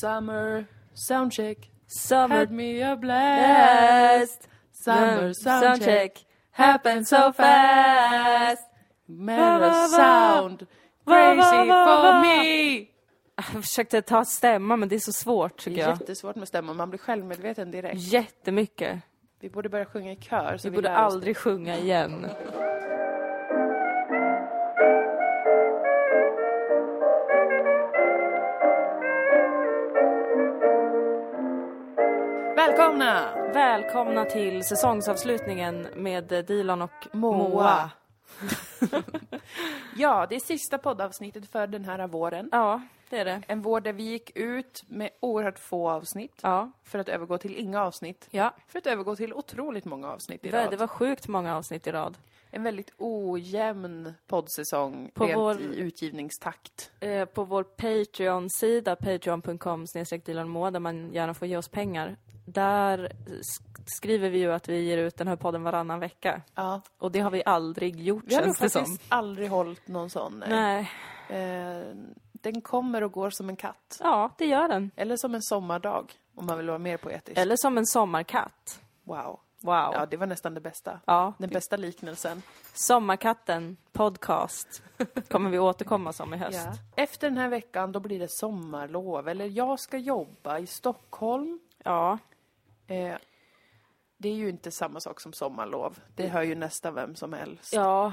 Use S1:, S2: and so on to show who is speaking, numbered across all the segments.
S1: Summer soundcheck
S2: Summer
S1: had me a blast.
S2: blast.
S1: Summer soundcheck
S2: Happens so fast.
S1: made a sound crazy for me.
S2: Ah, Jag försökte ta stämma men det är så svårt
S1: Det
S2: tycker
S1: är
S2: jag.
S1: jättesvårt med stämman, man blir självmedveten direkt.
S2: Jättemycket.
S1: Vi borde börja sjunga i kör. Så
S2: Vi borde
S1: lär oss
S2: aldrig sjunga igen.
S1: det. Välkomna!
S2: Välkomna till säsongsavslutningen med Dilan och Moa.
S1: Moa. ja, det är sista poddavsnittet för den här våren.
S2: Ja, det är det.
S1: En vår där vi gick ut med oerhört få avsnitt
S2: Ja.
S1: för att övergå till inga avsnitt.
S2: Ja.
S1: För att övergå till otroligt många avsnitt i
S2: Det,
S1: rad.
S2: det var sjukt många avsnitt i rad.
S1: En väldigt ojämn poddsäsong
S2: På
S1: rent
S2: vår-
S1: i utgivningstakt.
S2: Eh, på vår Patreon-sida, patreon.com dilanmoa där man gärna får ge oss pengar. Där sk- skriver vi ju att vi ger ut den här podden varannan vecka.
S1: Ja.
S2: Och det har vi aldrig gjort
S1: Vi har nog
S2: känns det
S1: faktiskt
S2: som.
S1: aldrig hållit någon sån. Nej.
S2: Nej.
S1: Eh, den kommer och går som en katt.
S2: Ja, det gör den.
S1: Eller som en sommardag, om man vill vara mer poetisk.
S2: Eller som en sommarkatt.
S1: Wow.
S2: Wow.
S1: Ja,
S2: Ja.
S1: det var nästan det bästa. Den bästa liknelsen.
S2: Sommarkatten podcast kommer vi återkomma som i höst.
S1: Ja. Efter den här veckan då blir det sommarlov, eller jag ska jobba i Stockholm.
S2: Ja.
S1: Eh, det är ju inte samma sak som sommarlov. Det hör ju nästan vem som helst.
S2: Ja.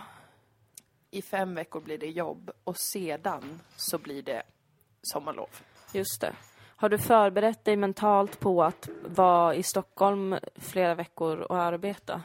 S1: I fem veckor blir det jobb och sedan så blir det sommarlov.
S2: Just det. Har du förberett dig mentalt på att vara i Stockholm flera veckor och arbeta?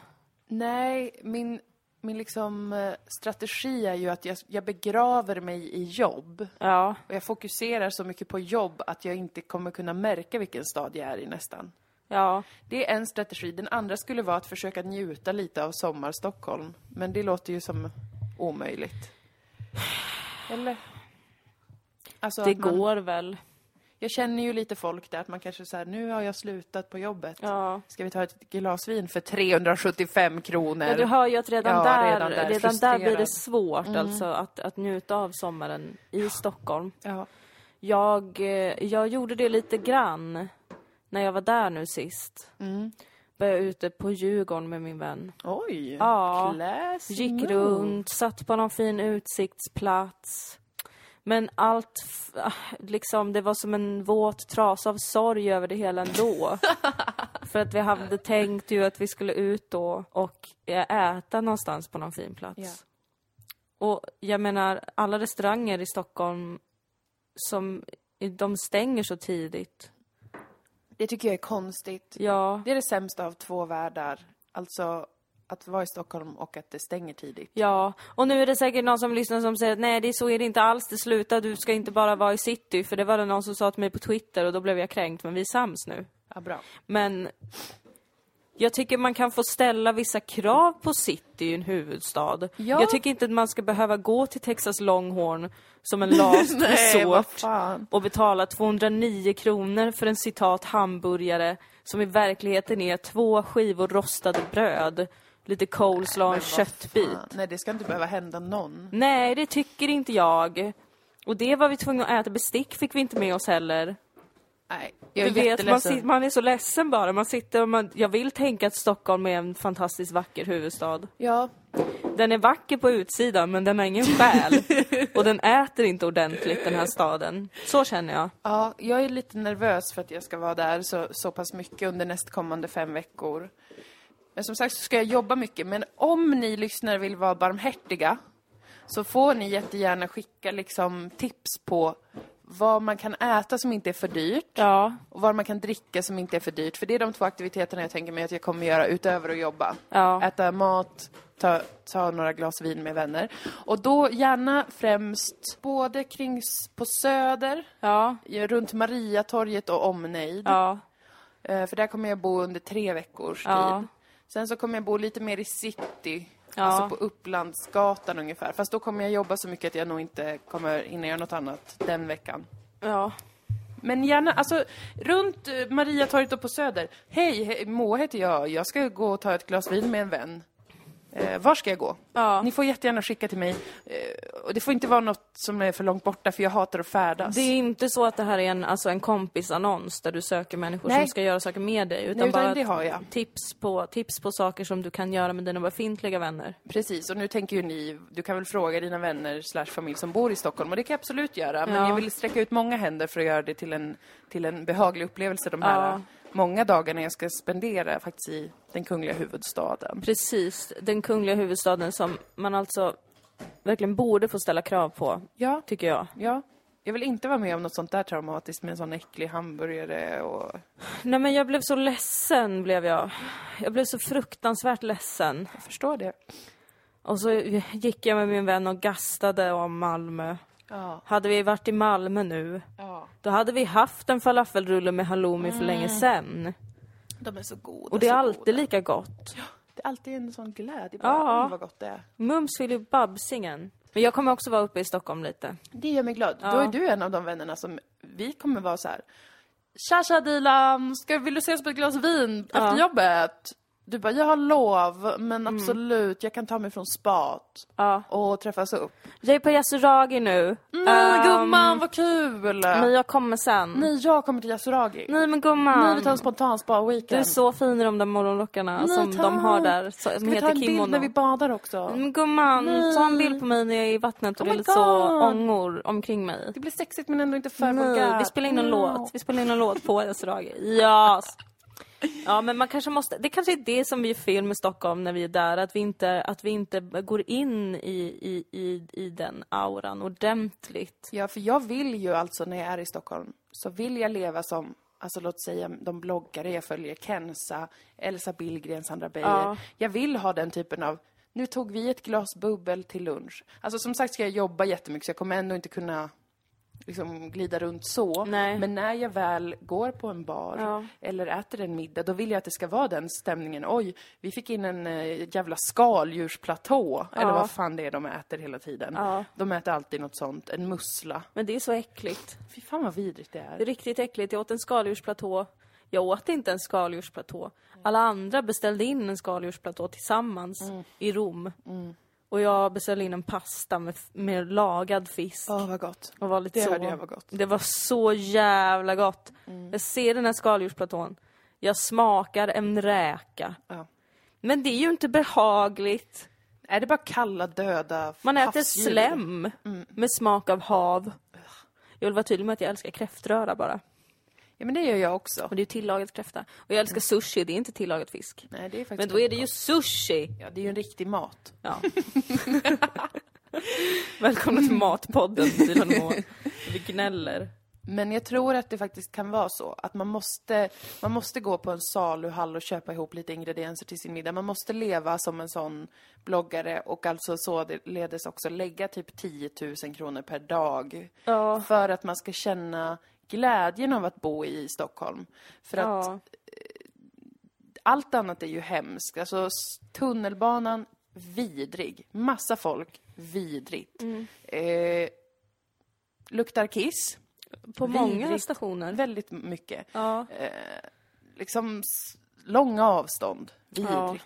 S1: Nej, min, min liksom eh, strategi är ju att jag, jag begraver mig i jobb.
S2: Ja.
S1: Och jag fokuserar så mycket på jobb att jag inte kommer kunna märka vilken stad jag är i nästan.
S2: Ja.
S1: Det är en strategi. Den andra skulle vara att försöka njuta lite av sommar-Stockholm. Men det låter ju som omöjligt. Eller? Alltså
S2: Det
S1: att man,
S2: går väl.
S1: Jag känner ju lite folk där, att man kanske säger nu har jag slutat på jobbet.
S2: Ja.
S1: Ska vi ta ett glas vin för 375 kronor?
S2: Ja, du hör ju att redan,
S1: Ja,
S2: där,
S1: redan
S2: redan,
S1: där, Mm.
S2: där, blir det
S1: frustrerad.
S2: svårt alltså att, att njuta av sommaren i Stockholm.
S1: ja.
S2: Jag, eh, jag gjorde det lite grann när jag var där nu sist.
S1: Mm.
S2: Var jag ute på Djurgården med min vän.
S1: Oj!
S2: Ja.
S1: Classy
S2: Gick
S1: move.
S2: runt, satt på någon fin utsiktsplats. Men allt, f- ah, liksom, det var som en våt trasa av sorg över det hela ändå. För att vi hade tänkt ju att vi skulle ut då och eh, äta någonstans på någon fin plats.
S1: Ja.
S2: Och jag menar, alla restauranger i Stockholm som, de stänger så tidigt.
S1: Det tycker jag är konstigt.
S2: Ja,
S1: Det är det sämsta av två världar. Alltså, att vara i Stockholm och att det stänger tidigt.
S2: Ja, och nu är det säkert någon som lyssnar som säger att nej, det är så är det inte alls, det slutar, du ska inte bara vara i city, för det var det någon som sa till mig på Twitter och då blev jag kränkt, men vi är sams nu.
S1: Ja, bra.
S2: Men jag tycker man kan få ställa vissa krav på city i en huvudstad.
S1: Ja.
S2: Jag tycker inte att man ska behöva gå till Texas Longhorn som en last
S1: Nej, vad
S2: resort
S1: fan.
S2: och betala 209 kronor för en citat hamburgare som i verkligheten är två skivor rostade bröd, lite coleslaw och en köttbit.
S1: Fan. Nej, det ska inte behöva hända någon.
S2: Nej, det tycker inte jag. Och det var vi tvungna att äta. Bestick fick vi inte med oss heller.
S1: Nej, jag är
S2: Du vet, man,
S1: jätteledsen.
S2: sit, man är så ledsen bara. Man sitter och man, jag vill tänka att Stockholm är en fantastiskt vacker huvudstad.
S1: Ja,
S2: Den är vacker på utsidan, men den har ingen själ. och den äter inte ordentligt, den här staden. Så känner jag.
S1: ja, jag är lite nervös för att jag ska vara där så, så pass mycket under nästkommande fem veckor. Men som sagt så ska jag jobba mycket. Men om ni lyssnare vill vara barmhärtiga så får ni jättegärna skicka liksom tips på vad man kan äta som inte är för dyrt
S2: Ja,
S1: och vad man kan dricka som inte är för dyrt. För det är de två aktiviteterna jag tänker mig att jag kommer göra utöver att jobba.
S2: Ja.
S1: Äta mat, ta, ta några glas vin med vänner. Och då gärna främst både kring, s- på Söder,
S2: ja,
S1: i- runt Mariatorget och omnejd.
S2: ja,
S1: Eh, För där kommer jag bo under tre veckors
S2: Ja.
S1: tid. Sen så kommer jag bo lite mer i city.
S2: Ja.
S1: Alltså på Upplandsgatan ungefär. Fast då kommer jag jobba så mycket att jag nog inte kommer hinna göra något annat den veckan.
S2: ja.
S1: Men gärna, alltså runt eh, Mariatorget och på Söder. Hej, hej Moa heter jag. Jag ska gå och ta ett glas vin med en vän. Eh, var ska jag gå?
S2: Ja.
S1: Ni får jättegärna skicka till mig. Eh, och det får inte vara något som är för långt borta, för jag hatar att färdas.
S2: Det är inte så att det här är en, alltså en kompisannons där du söker människor
S1: Nej.
S2: som ska göra saker med dig. Utan,
S1: Nej, utan
S2: bara
S1: det har jag.
S2: Tips, på, tips på saker som du kan göra med dina befintliga vänner.
S1: Precis, och nu tänker ju ni, du kan väl fråga dina vänner slash familj som bor i Stockholm, och det kan jag absolut göra, men
S2: Ja.
S1: jag vill sträcka ut många händer för att göra det till en, till en behaglig upplevelse de här
S2: Ja.
S1: många dagarna jag ska spendera faktiskt i den kungliga huvudstaden.
S2: Precis, den kungliga huvudstaden som man alltså verkligen borde få ställa krav på,
S1: Ja,
S2: tycker jag.
S1: ja. Jag vill inte vara med om något sånt där traumatiskt med en sån äcklig hamburgare och...
S2: Nej men jag blev så ledsen blev jag. Jag blev så fruktansvärt ledsen.
S1: Jag förstår det.
S2: Och så gick jag med min vän och gastade om Malmö.
S1: Ja.
S2: Hade vi varit i Malmö nu,
S1: ja.
S2: då hade vi haft en falafelrulle med halloumi för länge sen.
S1: De är så goda.
S2: Och det är
S1: så
S2: alltid
S1: goda.
S2: lika gott.
S1: Det är alltid en sån glädje.
S2: Ja.
S1: Bara, "Oj, vad gott det är.
S2: Mums vill ju Babsingen. Men jag kommer också vara uppe i Stockholm lite.
S1: Det gör mig glad.
S2: Ja.
S1: Då är du en av de vännerna som vi kommer vara så här. Tja tja Dilan, ska, vill du ses på ett glas vin
S2: Ja. Mm.
S1: efter jobbet? Du bara, jag har lov, men absolut, jag kan ta mig från spat
S2: Ja.
S1: och träffas upp.
S2: Jag är på Yasuragi nu.
S1: Nej
S2: Ehm,
S1: gumman, vad kul!
S2: Men jag kommer sen. Nej,
S1: Nej, jag kommer till Yasuragi.
S2: men gumman.
S1: Nej, vi tar en spontan spa-weekend.
S2: Du är så fin i de där morgonlockarna
S1: Nej,
S2: som de
S1: tack.
S2: har där. Så, som
S1: Ska vi ta
S2: heter
S1: en bild
S2: kimono. Mm.
S1: när vi badar också?
S2: Men gumman,
S1: Nej.
S2: ta en bild på mig när jag är i vattnet
S1: Oh
S2: och det är
S1: my
S2: lite så
S1: God.
S2: ångor omkring mig.
S1: Det blir sexigt men ändå inte för
S2: Nej,
S1: vulgärt.
S2: vi spelar in en
S1: No.
S2: låt. Vi spelar in en låt på Yasuragi. Ja. Ja men man kanske måste, det kanske är det som blir fel med Stockholm när vi är där, att vi inte, att vi inte går in i, i, i, i den auran ordentligt.
S1: Ja, för jag vill ju alltså när jag är i Stockholm så vill jag leva som, alltså låt säga de bloggare jag följer, Kenza, Elsa Billgren, Sandra Beijer.
S2: Ja.
S1: Jag vill ha den typen av nu tog vi ett glas bubbel till lunch. Alltså som sagt ska jag jobba jättemycket så jag kommer ändå inte kunna liksom glida runt så.
S2: Nej.
S1: Men när jag väl går på en bar
S2: Ja.
S1: eller äter en middag, då vill jag att det ska vara den stämningen. Oj, vi fick in en eh, jävla skaldjursplatå. Eller
S2: Ja.
S1: vad fan det är de äter hela tiden.
S2: Ja.
S1: De äter alltid något sånt, en mussla.
S2: Men det är så äckligt.
S1: Fy fan vad vidrigt det är.
S2: Det är riktigt äckligt. Jag åt en skaldjursplatå. Jag åt inte en skaldjursplatå. Alla andra beställde in en skaldjursplatå tillsammans
S1: Mm.
S2: i Rom. Och jag beställde in en pasta med, f- med lagad fisk.
S1: Åh, vad gott.
S2: Och var lite
S1: Det
S2: så.
S1: hörde jag var gott. Mm.
S2: Det var så jävla gott. Jag ser den här skaldjursplatån. Jag smakar en räka.
S1: Ja.
S2: Men det är ju inte behagligt.
S1: Är det bara kalla, döda
S2: Man äter
S1: havsdjur? Mm.
S2: slem med smak av hav. Jag vill vara tydlig med att jag älskar kräftröra bara.
S1: Ja, men det gör jag också.
S2: Och det är ju tillagat kräfta. Och jag
S1: Mm.
S2: älskar sushi, det är inte tillagat fisk.
S1: Nej, det är faktiskt
S2: Men då är det ju sushi!
S1: Ja, det är ju en riktig mat.
S2: Ja. Välkomna till Matpodden, Dilan och Moa. Vi gnäller.
S1: Men jag tror att det faktiskt kan vara så att man måste, man måste gå på en saluhall och köpa ihop lite ingredienser till sin middag. Man måste leva som en sån bloggare och alltså således också lägga typ 10 000 kronor per dag.
S2: Ja.
S1: För att man ska känna glädjen av att bo i Stockholm. För att
S2: Ja.
S1: allt annat är ju hemskt. Alltså s- tunnelbanan, vidrig. Massa folk, vidrigt.
S2: Mm.
S1: Eh, luktar kiss,
S2: På många
S1: Vidrigt.
S2: stationer.
S1: väldigt mycket.
S2: Ja.
S1: Liksom s- långa avstånd, vidrigt.
S2: Ja.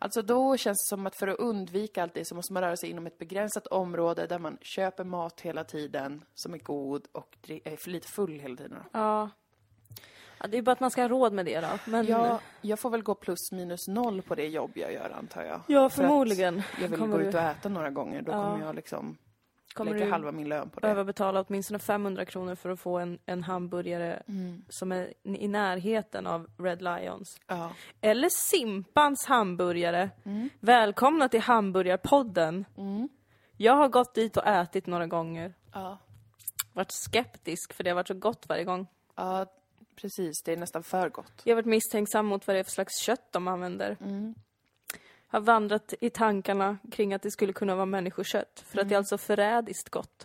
S1: Alltså då känns det som att för att undvika allt det så måste man röra sig inom ett begränsat område där man köper mat hela tiden som är god och dri- är för lite full hela tiden.
S2: Ja. ja. Det är bara att man ska ha råd med det då. Men
S1: Jag, jag får väl gå plus minus noll på det jobb jag gör antar jag.
S2: Ja,
S1: För att
S2: förmodligen.
S1: Jag vill
S2: Kommer
S1: gå
S2: du-
S1: ut och äta några gånger, då kommer jag liksom
S2: kommer
S1: lägga
S2: du
S1: halva min lön på det.
S2: behöva betala åtminstone 500 kronor för att få en, en hamburgare
S1: Mm.
S2: som är i närheten av Red Lions.
S1: Ja.
S2: Eller Simpans hamburgare. Välkomna till Hamburgarpodden. Jag har gått dit och ätit några gånger.
S1: Ja.
S2: Varit skeptisk för det har varit så gott varje gång.
S1: ja, precis. Det är nästan för gott.
S2: Jag har varit misstänksam mot vad det är för slags kött de använder. Har vandrat i tankarna kring att det skulle kunna vara människokött. För att det är alltså förrädiskt gott.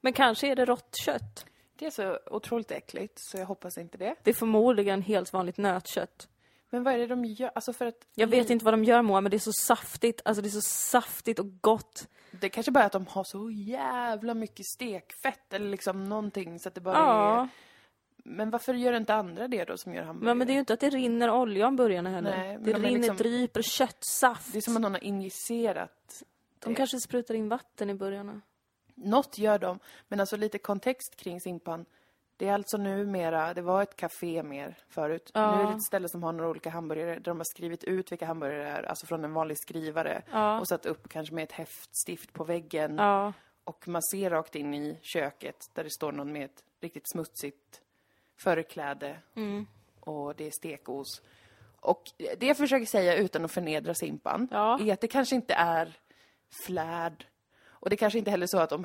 S2: Men kanske är det rått kött.
S1: Det är så otroligt äckligt, så jag hoppas inte det.
S2: Det är förmodligen helt vanligt nötkött.
S1: Men vad är det de gör? Alltså för att...
S2: Jag vet inte vad de gör Moa, men det är så saftigt. Alltså det är så saftigt och gott.
S1: Det kanske bara är att de har så jävla mycket stekfett eller liksom någonting så att det bara
S2: Ja.
S1: är... Men varför gör inte andra det då som gör hamburgare?
S2: Men, men det är ju inte att det rinner olja om burgarna heller.
S1: Nej, men
S2: det
S1: de är
S2: rinner,
S1: liksom-
S2: dryper köttsaft.
S1: Det är som att någon har injicerat
S2: De kanske sprutar in vatten i burgarna.
S1: Något gör de, men alltså lite kontext kring Simpan. Det är alltså numera, det var ett café mer förut.
S2: Ja.
S1: Nu är det ett ställe som har några olika hamburgare där de har skrivit ut vilka hamburgare det är, alltså från en vanlig skrivare.
S2: Ja.
S1: Och satt upp kanske med ett häftstift på väggen.
S2: Ja.
S1: Och man ser rakt in i köket där det står någon med ett riktigt smutsigt förkläde. Och det är stekos. Och det jag försöker säga utan att förnedra Simpan
S2: Ja.
S1: är att det kanske inte är flärd. Och det kanske inte heller är så att om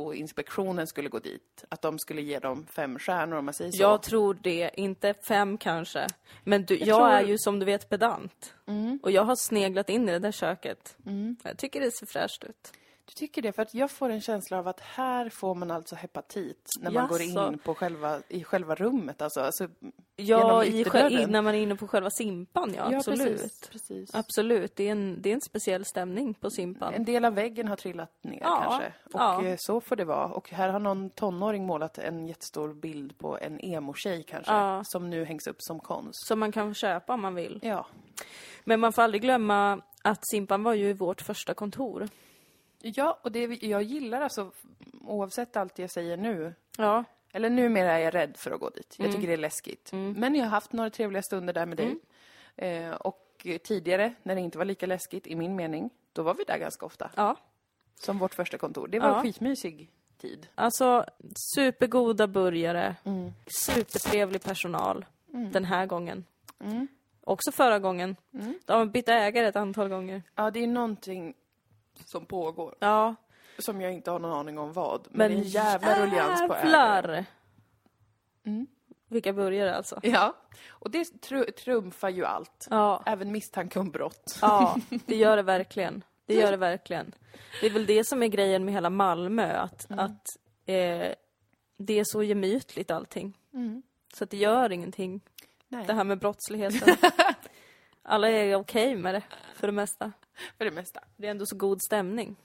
S1: hälsoinspektionen skulle gå dit, att de skulle ge dem fem stjärnor om man säger så.
S2: Jag tror det, inte fem kanske. Men du, jag, Mm.
S1: tror-
S2: är ju som du vet pedant. Och jag har sneglat in i det där köket. Jag tycker det ser fräscht ut.
S1: Du tycker det? För att jag får en känsla av att här får man alltså hepatit när man går
S2: Jaså.
S1: in på själva, i själva rummet alltså. alltså
S2: Ja,
S1: genom
S2: i,
S1: ytterdörren.
S2: själ- när man är inne på själva Simpan, ja,
S1: Ja,
S2: absolut.
S1: precis, precis.
S2: Absolut, det är, en, det är en speciell stämning på Simpan.
S1: En del av väggen har trillat ner
S2: Ja,
S1: kanske. Och
S2: ja.
S1: eh, så får det vara. Och här har någon tonåring målat en jättestor bild på en emo-tjej kanske.
S2: Ja.
S1: Som nu hängs upp som konst.
S2: Som man kan köpa om man vill.
S1: Ja.
S2: Men man får aldrig glömma att Simpan var ju vårt första kontor.
S1: Ja, och det, jag gillar alltså, oavsett allt jag säger nu,
S2: Ja,
S1: eller numera är jag rädd för att gå dit. Jag tycker det är läskigt. Men jag har haft några trevliga stunder där med dig. Eh, och eh, tidigare, när det inte var lika läskigt, i min mening, då var vi där ganska ofta.
S2: ja.
S1: Som vårt första kontor. Det var
S2: Ja.
S1: en skitmysig tid.
S2: Alltså, supergoda burgare,
S1: Mm.
S2: supertrevlig personal den här gången.
S1: Mm.
S2: Också förra gången. De har bytt ägare ett antal gånger.
S1: Ja, det är någonting som pågår.
S2: Ja,
S1: Som jag inte har någon aning om vad. Men,
S2: men
S1: det är en jävla ruljans på Mm. ägaren.
S2: jävlar! Vilka burgare alltså.
S1: Ja. Och det tru- trumfar ju allt.
S2: Ja,
S1: Även misstanke om brott.
S2: ja, det gör det verkligen. Det gör det verkligen. Det är väl det som är grejen med hela Malmö, att,
S1: Mm.
S2: att eh, det är så gemytligt allting.
S1: Mm.
S2: Så att det gör ingenting
S1: Nej,
S2: det här med brottsligheten. Alla är okej med det, för det mesta.
S1: för det mesta.
S2: Det är ändå så god stämning.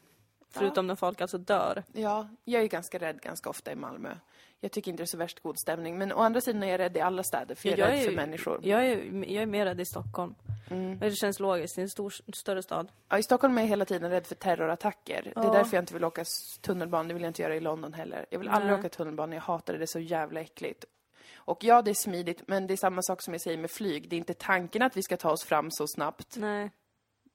S2: Förutom när folk alltså dör.
S1: Ja, jag är ju ganska rädd ganska ofta i Malmö. Jag tycker inte det är så värst god stämning. Men å andra sidan är jag rädd i alla städer, för jag är
S2: Jag
S1: rädd
S2: är
S1: för
S2: ju-
S1: människor. Mm.
S2: Jag är, jag är mer rädd i Stockholm. Men det känns logiskt, det är en stor, större stad.
S1: Ja, I Stockholm är jag hela tiden rädd för terrorattacker. Det är därför jag inte vill åka s- tunnelbana. Det vill jag inte göra i London heller. Jag vill aldrig
S2: Nej.
S1: åka tunnelbana. Jag hatar det. Det är så jävla äckligt. Och ja, det är smidigt, men det är samma sak som jag säger med flyg. Det är inte tanken att vi ska ta oss fram så snabbt.
S2: Nej,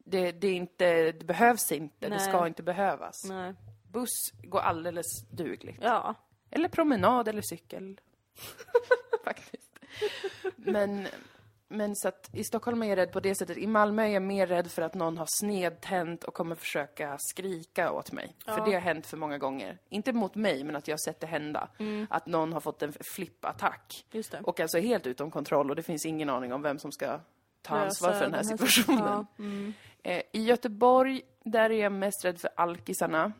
S1: Det, det, är inte, det behövs inte.
S2: Nej.
S1: Det ska inte behövas.
S2: nej.
S1: Buss går alldeles dugligt.
S2: Ja.
S1: Eller promenad eller cykel. Faktiskt. Men, men så att i Stockholm är jag rädd på det sättet. I Malmö är jag mer rädd för att någon har snedtänt och kommer försöka skrika åt mig. För det har hänt för många gånger. Inte mot mig, men att jag har sett det hända. Att någon har fått en flippattack.
S2: Just det.
S1: Och alltså är helt utom kontroll och det finns ingen aning om vem som ska ta ansvar
S2: Lösa
S1: för den här
S2: den här
S1: situationen.
S2: situationen.
S1: Eh, I Göteborg, där är jag mest rädd för alkisarna.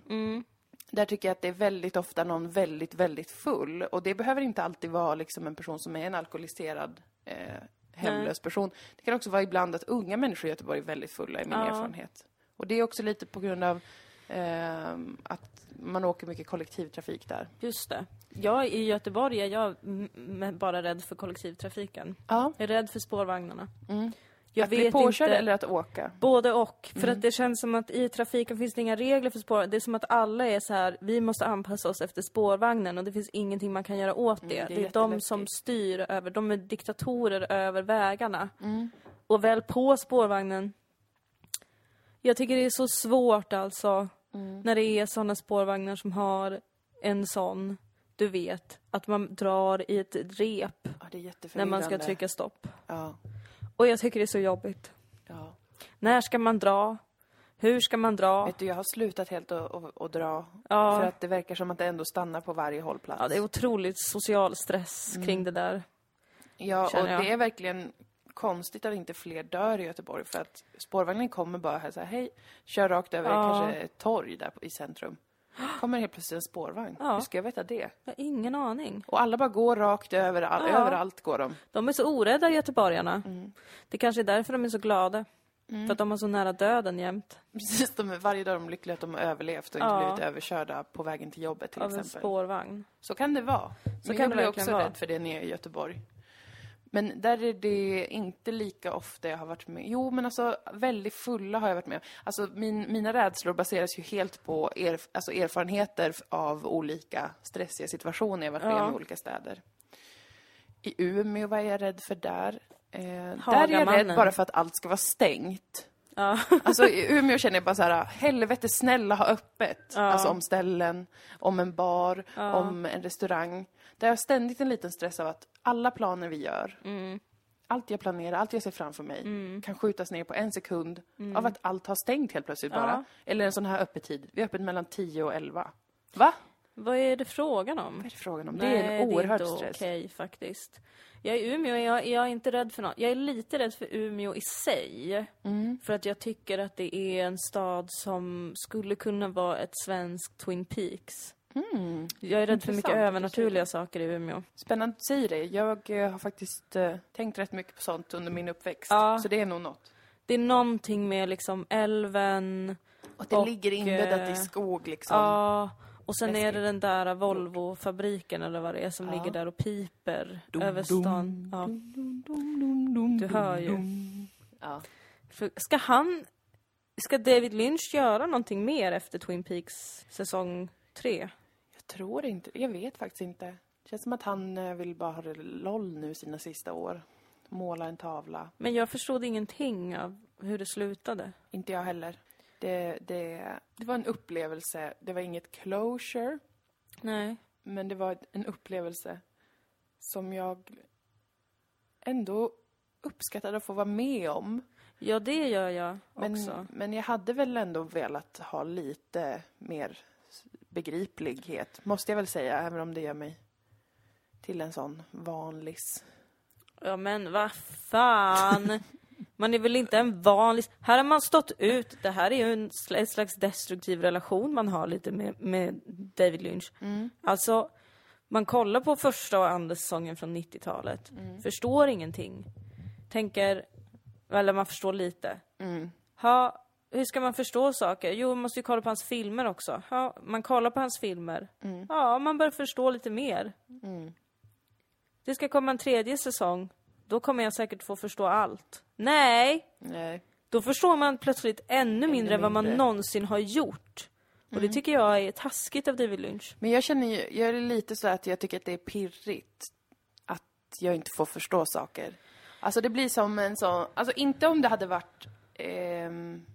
S1: Där tycker jag att det är väldigt ofta någon väldigt, väldigt full. Och det behöver inte alltid vara liksom en person som är en alkoholiserad, eh, hemlös person. Det kan också vara ibland att unga människor i Göteborg är väldigt fulla, i min
S2: Ja.
S1: erfarenhet. Och det är också lite på grund av ehm, att man åker mycket kollektivtrafik där.
S2: Just det. Jag i Göteborg är jag m- m- bara rädd för kollektivtrafiken.
S1: Ja.
S2: Jag är rädd för spårvagnarna. Jag
S1: Mm. att bli påkörd eller att åka.
S2: Både och. För
S1: Mm.
S2: att det känns som att i trafiken finns det inga regler för spår. Det är som att alla är så här, vi måste anpassa oss efter spårvagnen och det finns ingenting man kan göra åt det.
S1: det är
S2: det, är de
S1: jätteläskigt.
S2: som styr över, de är diktatorer över vägarna.
S1: Mm.
S2: Och väl på spårvagnen. Jag tycker det är så svårt alltså,
S1: Mm.
S2: när det är sådana spårvagnar som har en sån, du vet, att man drar i ett rep
S1: Ja, det är
S2: när
S1: jätteförvirrande.
S2: man ska trycka stopp.
S1: Ja,
S2: Och jag tycker det är så jobbigt.
S1: ja.
S2: När ska man dra? Hur ska man dra?
S1: Vet du, jag har slutat helt att- att att dra.
S2: Ja.
S1: För att det verkar som att det ändå stannar på varje hållplats.
S2: Ja, det är otroligt social stress
S1: Mm.
S2: kring det där.
S1: Ja, och
S2: känner jag.
S1: det är verkligen konstigt att inte fler dör i Göteborg för att spårvagnen kommer bara här så här, hej, kör rakt över
S2: Ja.
S1: kanske ett torg där på- i centrum. Kommer helt plötsligt en spårvagn.
S2: Ja.
S1: Hur ska jag veta det?
S2: Jag har ingen aning.
S1: Och alla bara går rakt över, all,
S2: Ja.
S1: överallt går de. Mm.
S2: De är så orädda göteborgarna. Det kanske är därför de är så glada. För att de var så nära döden jämt.
S1: Precis, de, är- varje dag är de lyckliga att de har överlevt och inte
S2: Ja.
S1: blivit överkörda på vägen till jobbet till
S2: Av en
S1: exempel.
S2: spårvagn.
S1: Så kan det vara. Så Men
S2: kan
S1: jag
S2: det
S1: blir
S2: verkligen
S1: också
S2: vara.
S1: rädd för det nere i Göteborg. Men där är det inte lika ofta jag har varit med. Jo, men alltså väldigt fulla har jag varit med om. Alltså min, mina rädslor baseras ju helt på erf- alltså, erfarenheter av olika stressiga situationer jag varit med
S2: Ja.
S1: om i olika städer. I Umeå, vad är jag rädd för där? Eh, där är jag
S2: Hagamannen.
S1: rädd bara för att allt ska vara stängt.
S2: Ja.
S1: Alltså i Umeå känner jag bara så här, helvete snälla ha öppet. Alltså om ställen, om en bar, om en restaurang. Där har jag ständigt en liten stress av att alla planer vi gör,
S2: Mm.
S1: allt jag planerar, allt jag ser framför mig, kan skjutas ner på en sekund
S2: Mm.
S1: av att allt har stängt helt plötsligt bara. Eller en sån här öppettid. Vi är öppet mellan 10 och 11. Va?
S2: Vad är det frågan om?
S1: Vad är det frågan om? det är en oerhörd stress.
S2: okej faktiskt. Jag är i Umeå, jag, jag är inte rädd för något. Jag är lite rädd för Umeå i sig.
S1: Mm.
S2: För att jag tycker att det är en stad som skulle kunna vara ett svenskt Twin Peaks. Jag är rädd för
S1: Mm. Intressant
S2: mycket
S1: att du
S2: övernaturliga saker i Umeå.
S1: Spännande att du säger det. Jag eh, har faktiskt eh, tänkt rätt mycket på sånt under min uppväxt.
S2: Ja.
S1: Så det är nog något.
S2: Det är någonting med liksom älven,
S1: Och det
S2: Och,
S1: ligger inbäddat i
S2: eh,
S1: skog liksom.
S2: ja. Och sen är det
S1: Läskigt.
S2: den där Volvo-fabriken eller vad det är som
S1: Ja.
S2: ligger där och piper
S1: Dum,
S2: över
S1: dum,
S2: stan. Ja.
S1: Du
S2: hör ju.
S1: Ja.
S2: För ska han... Ska David Lynch göra någonting mer efter Twin Peaks säsong tre?
S1: Jag tror inte, jag vet faktiskt inte. Det känns som att han eh, vill bara ha det LOL nu sina sista år. Måla en tavla.
S2: Men jag förstod ingenting av hur det slutade.
S1: Inte jag heller. Det, det, det var en upplevelse. Det var inget closure,
S2: Nej.
S1: men det var en upplevelse som jag ändå uppskattade att få vara med om.
S2: Ja, det gör jag också.
S1: Men, men jag hade väl ändå velat ha lite mer s- begriplighet, måste jag väl säga, även om det gör mig till en sån vanlis.
S2: Ja, men vad fan! Man är väl inte en vanlig... Här har man stått ut. Det här är ju en sl- en slags destruktiv relation man har lite med, med David Lynch. Alltså, man kollar på första och andra säsongen från 90-talet. Förstår ingenting. Tänker... Eller man förstår lite. Ha, hur ska man förstå saker? Jo, man måste ju kolla på hans filmer också. Ha, man kollar på hans filmer. Ja, man börjar förstå lite mer. Det ska komma en tredje säsong. Då kommer jag säkert få förstå allt. Nej!
S1: Nej.
S2: Då förstår man plötsligt ännu mindre, Mm. än vad man
S1: mindre.
S2: någonsin har gjort. Och det tycker jag är taskigt av David Lynch.
S1: Men jag känner ju, jag är lite så att jag tycker att det är pirrigt att jag inte får förstå saker. Alltså det blir som en sån, alltså inte om det hade varit, ehm,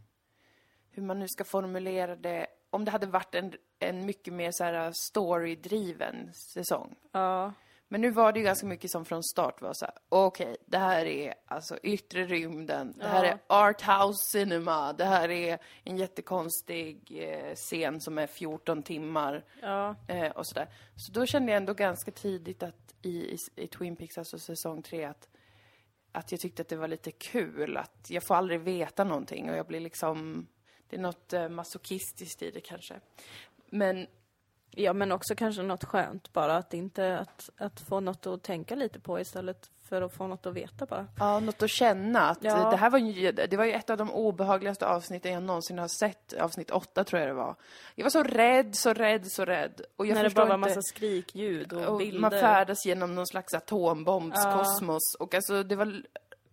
S1: hur man nu ska formulera det, om det hade varit en, en mycket mer så här storydriven säsong.
S2: Ja.
S1: Men nu var det ju ganska mycket som från start var så här: okej, det här är alltså yttre rymden, det här
S2: Ja.
S1: är art house cinema, det här är en jättekonstig eh, scen som är 14 timmar
S2: ja.
S1: eh, och sådär. Så då kände jag ändå ganska tidigt att i, i, i Twin Peaks, alltså säsong 3, att, att jag tyckte att det var lite kul, att jag får aldrig veta någonting och jag blir liksom, det är något eh, masochistiskt i det kanske. Men
S2: Ja, men också kanske något skönt bara. Att, inte, att, att få något att tänka lite på istället för att få något att veta bara.
S1: Ja, något att känna. Att
S2: Ja.
S1: det, här var ju, det var ju ett av de obehagligaste avsnitten jag någonsin har sett. Avsnitt åtta tror jag det var. Jag var så rädd, så rädd, så rädd. Och jag
S2: När det
S1: förstår
S2: bara var
S1: inte...
S2: massa skrikljud och,
S1: och
S2: bilder.
S1: man färdas genom någon slags atombombskosmos. Och alltså, det var l-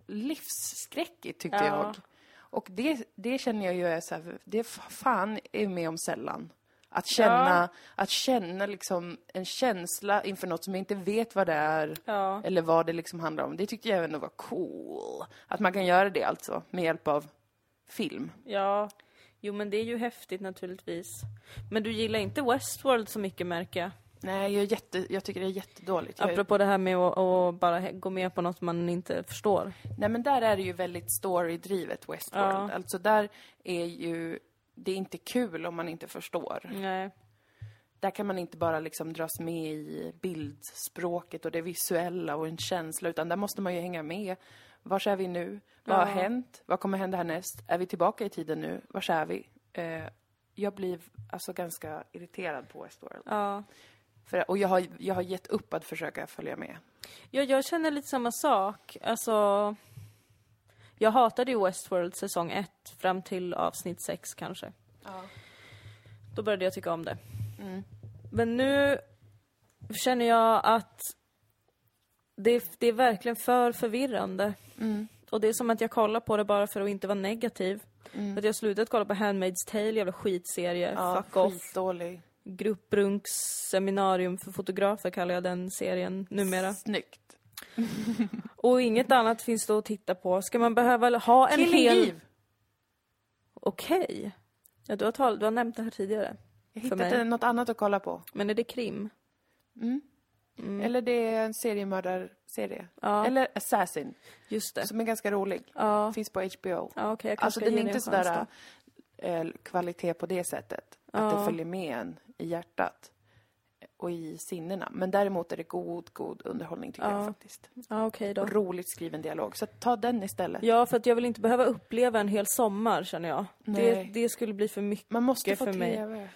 S1: livsskräckigt tyckte
S2: Ja.
S1: jag. Och det, det känner jag ju är så här, det f- fan är med om sällan. Att känna, att känna liksom en känsla inför något som jag inte vet vad det är.
S2: Ja.
S1: Eller vad det liksom handlar om. Det tyckte jag ändå var cool. Att man kan göra det alltså, med hjälp av film.
S2: Ja, jo men det är ju häftigt naturligtvis. Men du gillar inte Westworld så mycket märker jag.
S1: Nej, jag, är jätte, jag tycker det är jättedåligt. Jag,
S2: Apropå det här med att, att bara he- gå med på något man inte förstår.
S1: Nej men där är det ju väldigt storydrivet Westworld.
S2: Ja.
S1: Alltså där är ju, det är inte kul om man inte förstår.
S2: Nej.
S1: Där kan man inte bara liksom dras med i bildspråket och det visuella och en känsla, utan där måste man ju hänga med. Var är vi nu? Vad har hänt? Vad kommer hända härnäst? Är vi tillbaka i tiden nu? Var är vi? Eh, jag blir alltså ganska irriterad på Westworld.
S2: Ja.
S1: För, och jag har, jag har gett upp att försöka följa med.
S2: ja, jag känner lite samma sak. Alltså, Jag hatade ju Westworld säsong 1 fram till avsnitt 6 kanske.
S1: Ja.
S2: Då började jag tycka om det.
S1: Mm.
S2: Men nu känner jag att det, det är verkligen för förvirrande.
S1: Mm.
S2: Och det är som att jag kollar på det bara för att inte vara negativ.
S1: Mm.
S2: Att jag har slutat kolla på Handmaid's Tale, jävla skitserie,
S1: Ja,
S2: fuck off.
S1: skitdålig.
S2: Grupprunks seminarium för fotografer kallar jag den serien numera.
S1: Snyggt.
S2: Och inget annat finns då att titta på. Ska man behöva ha en
S1: Killing
S2: hel...
S1: Eve.
S2: Okej. Ja, du, har tal- du har nämnt det här tidigare.
S1: Jag
S2: för
S1: hittade
S2: mig.
S1: något annat att kolla på.
S2: Men är det krim?
S1: Mm. Eller det är en seriemördarserie.
S2: Ja.
S1: Eller Assassin,
S2: Just det.
S1: som är ganska rolig.
S2: Ja.
S1: Finns på HBO.
S2: Ja, okej. jag kanske
S1: Alltså
S2: ska
S1: den
S2: ge
S1: är
S2: det en
S1: inte
S2: chans då.
S1: sådär eh, kvalitet på det sättet. Att det
S2: Ja.
S1: följer med en i hjärtat och i sinnena. Men däremot är det god, god underhållning tycker jag
S2: Ja.
S1: faktiskt.
S2: Ja, okej då.
S1: Och roligt skriven dialog. Så ta den istället.
S2: Ja, för att jag vill inte behöva uppleva en hel sommar känner jag. Det,
S1: Nej.
S2: det skulle bli för mycket.
S1: Man måste
S2: Mycket
S1: få
S2: för mig.
S1: tv.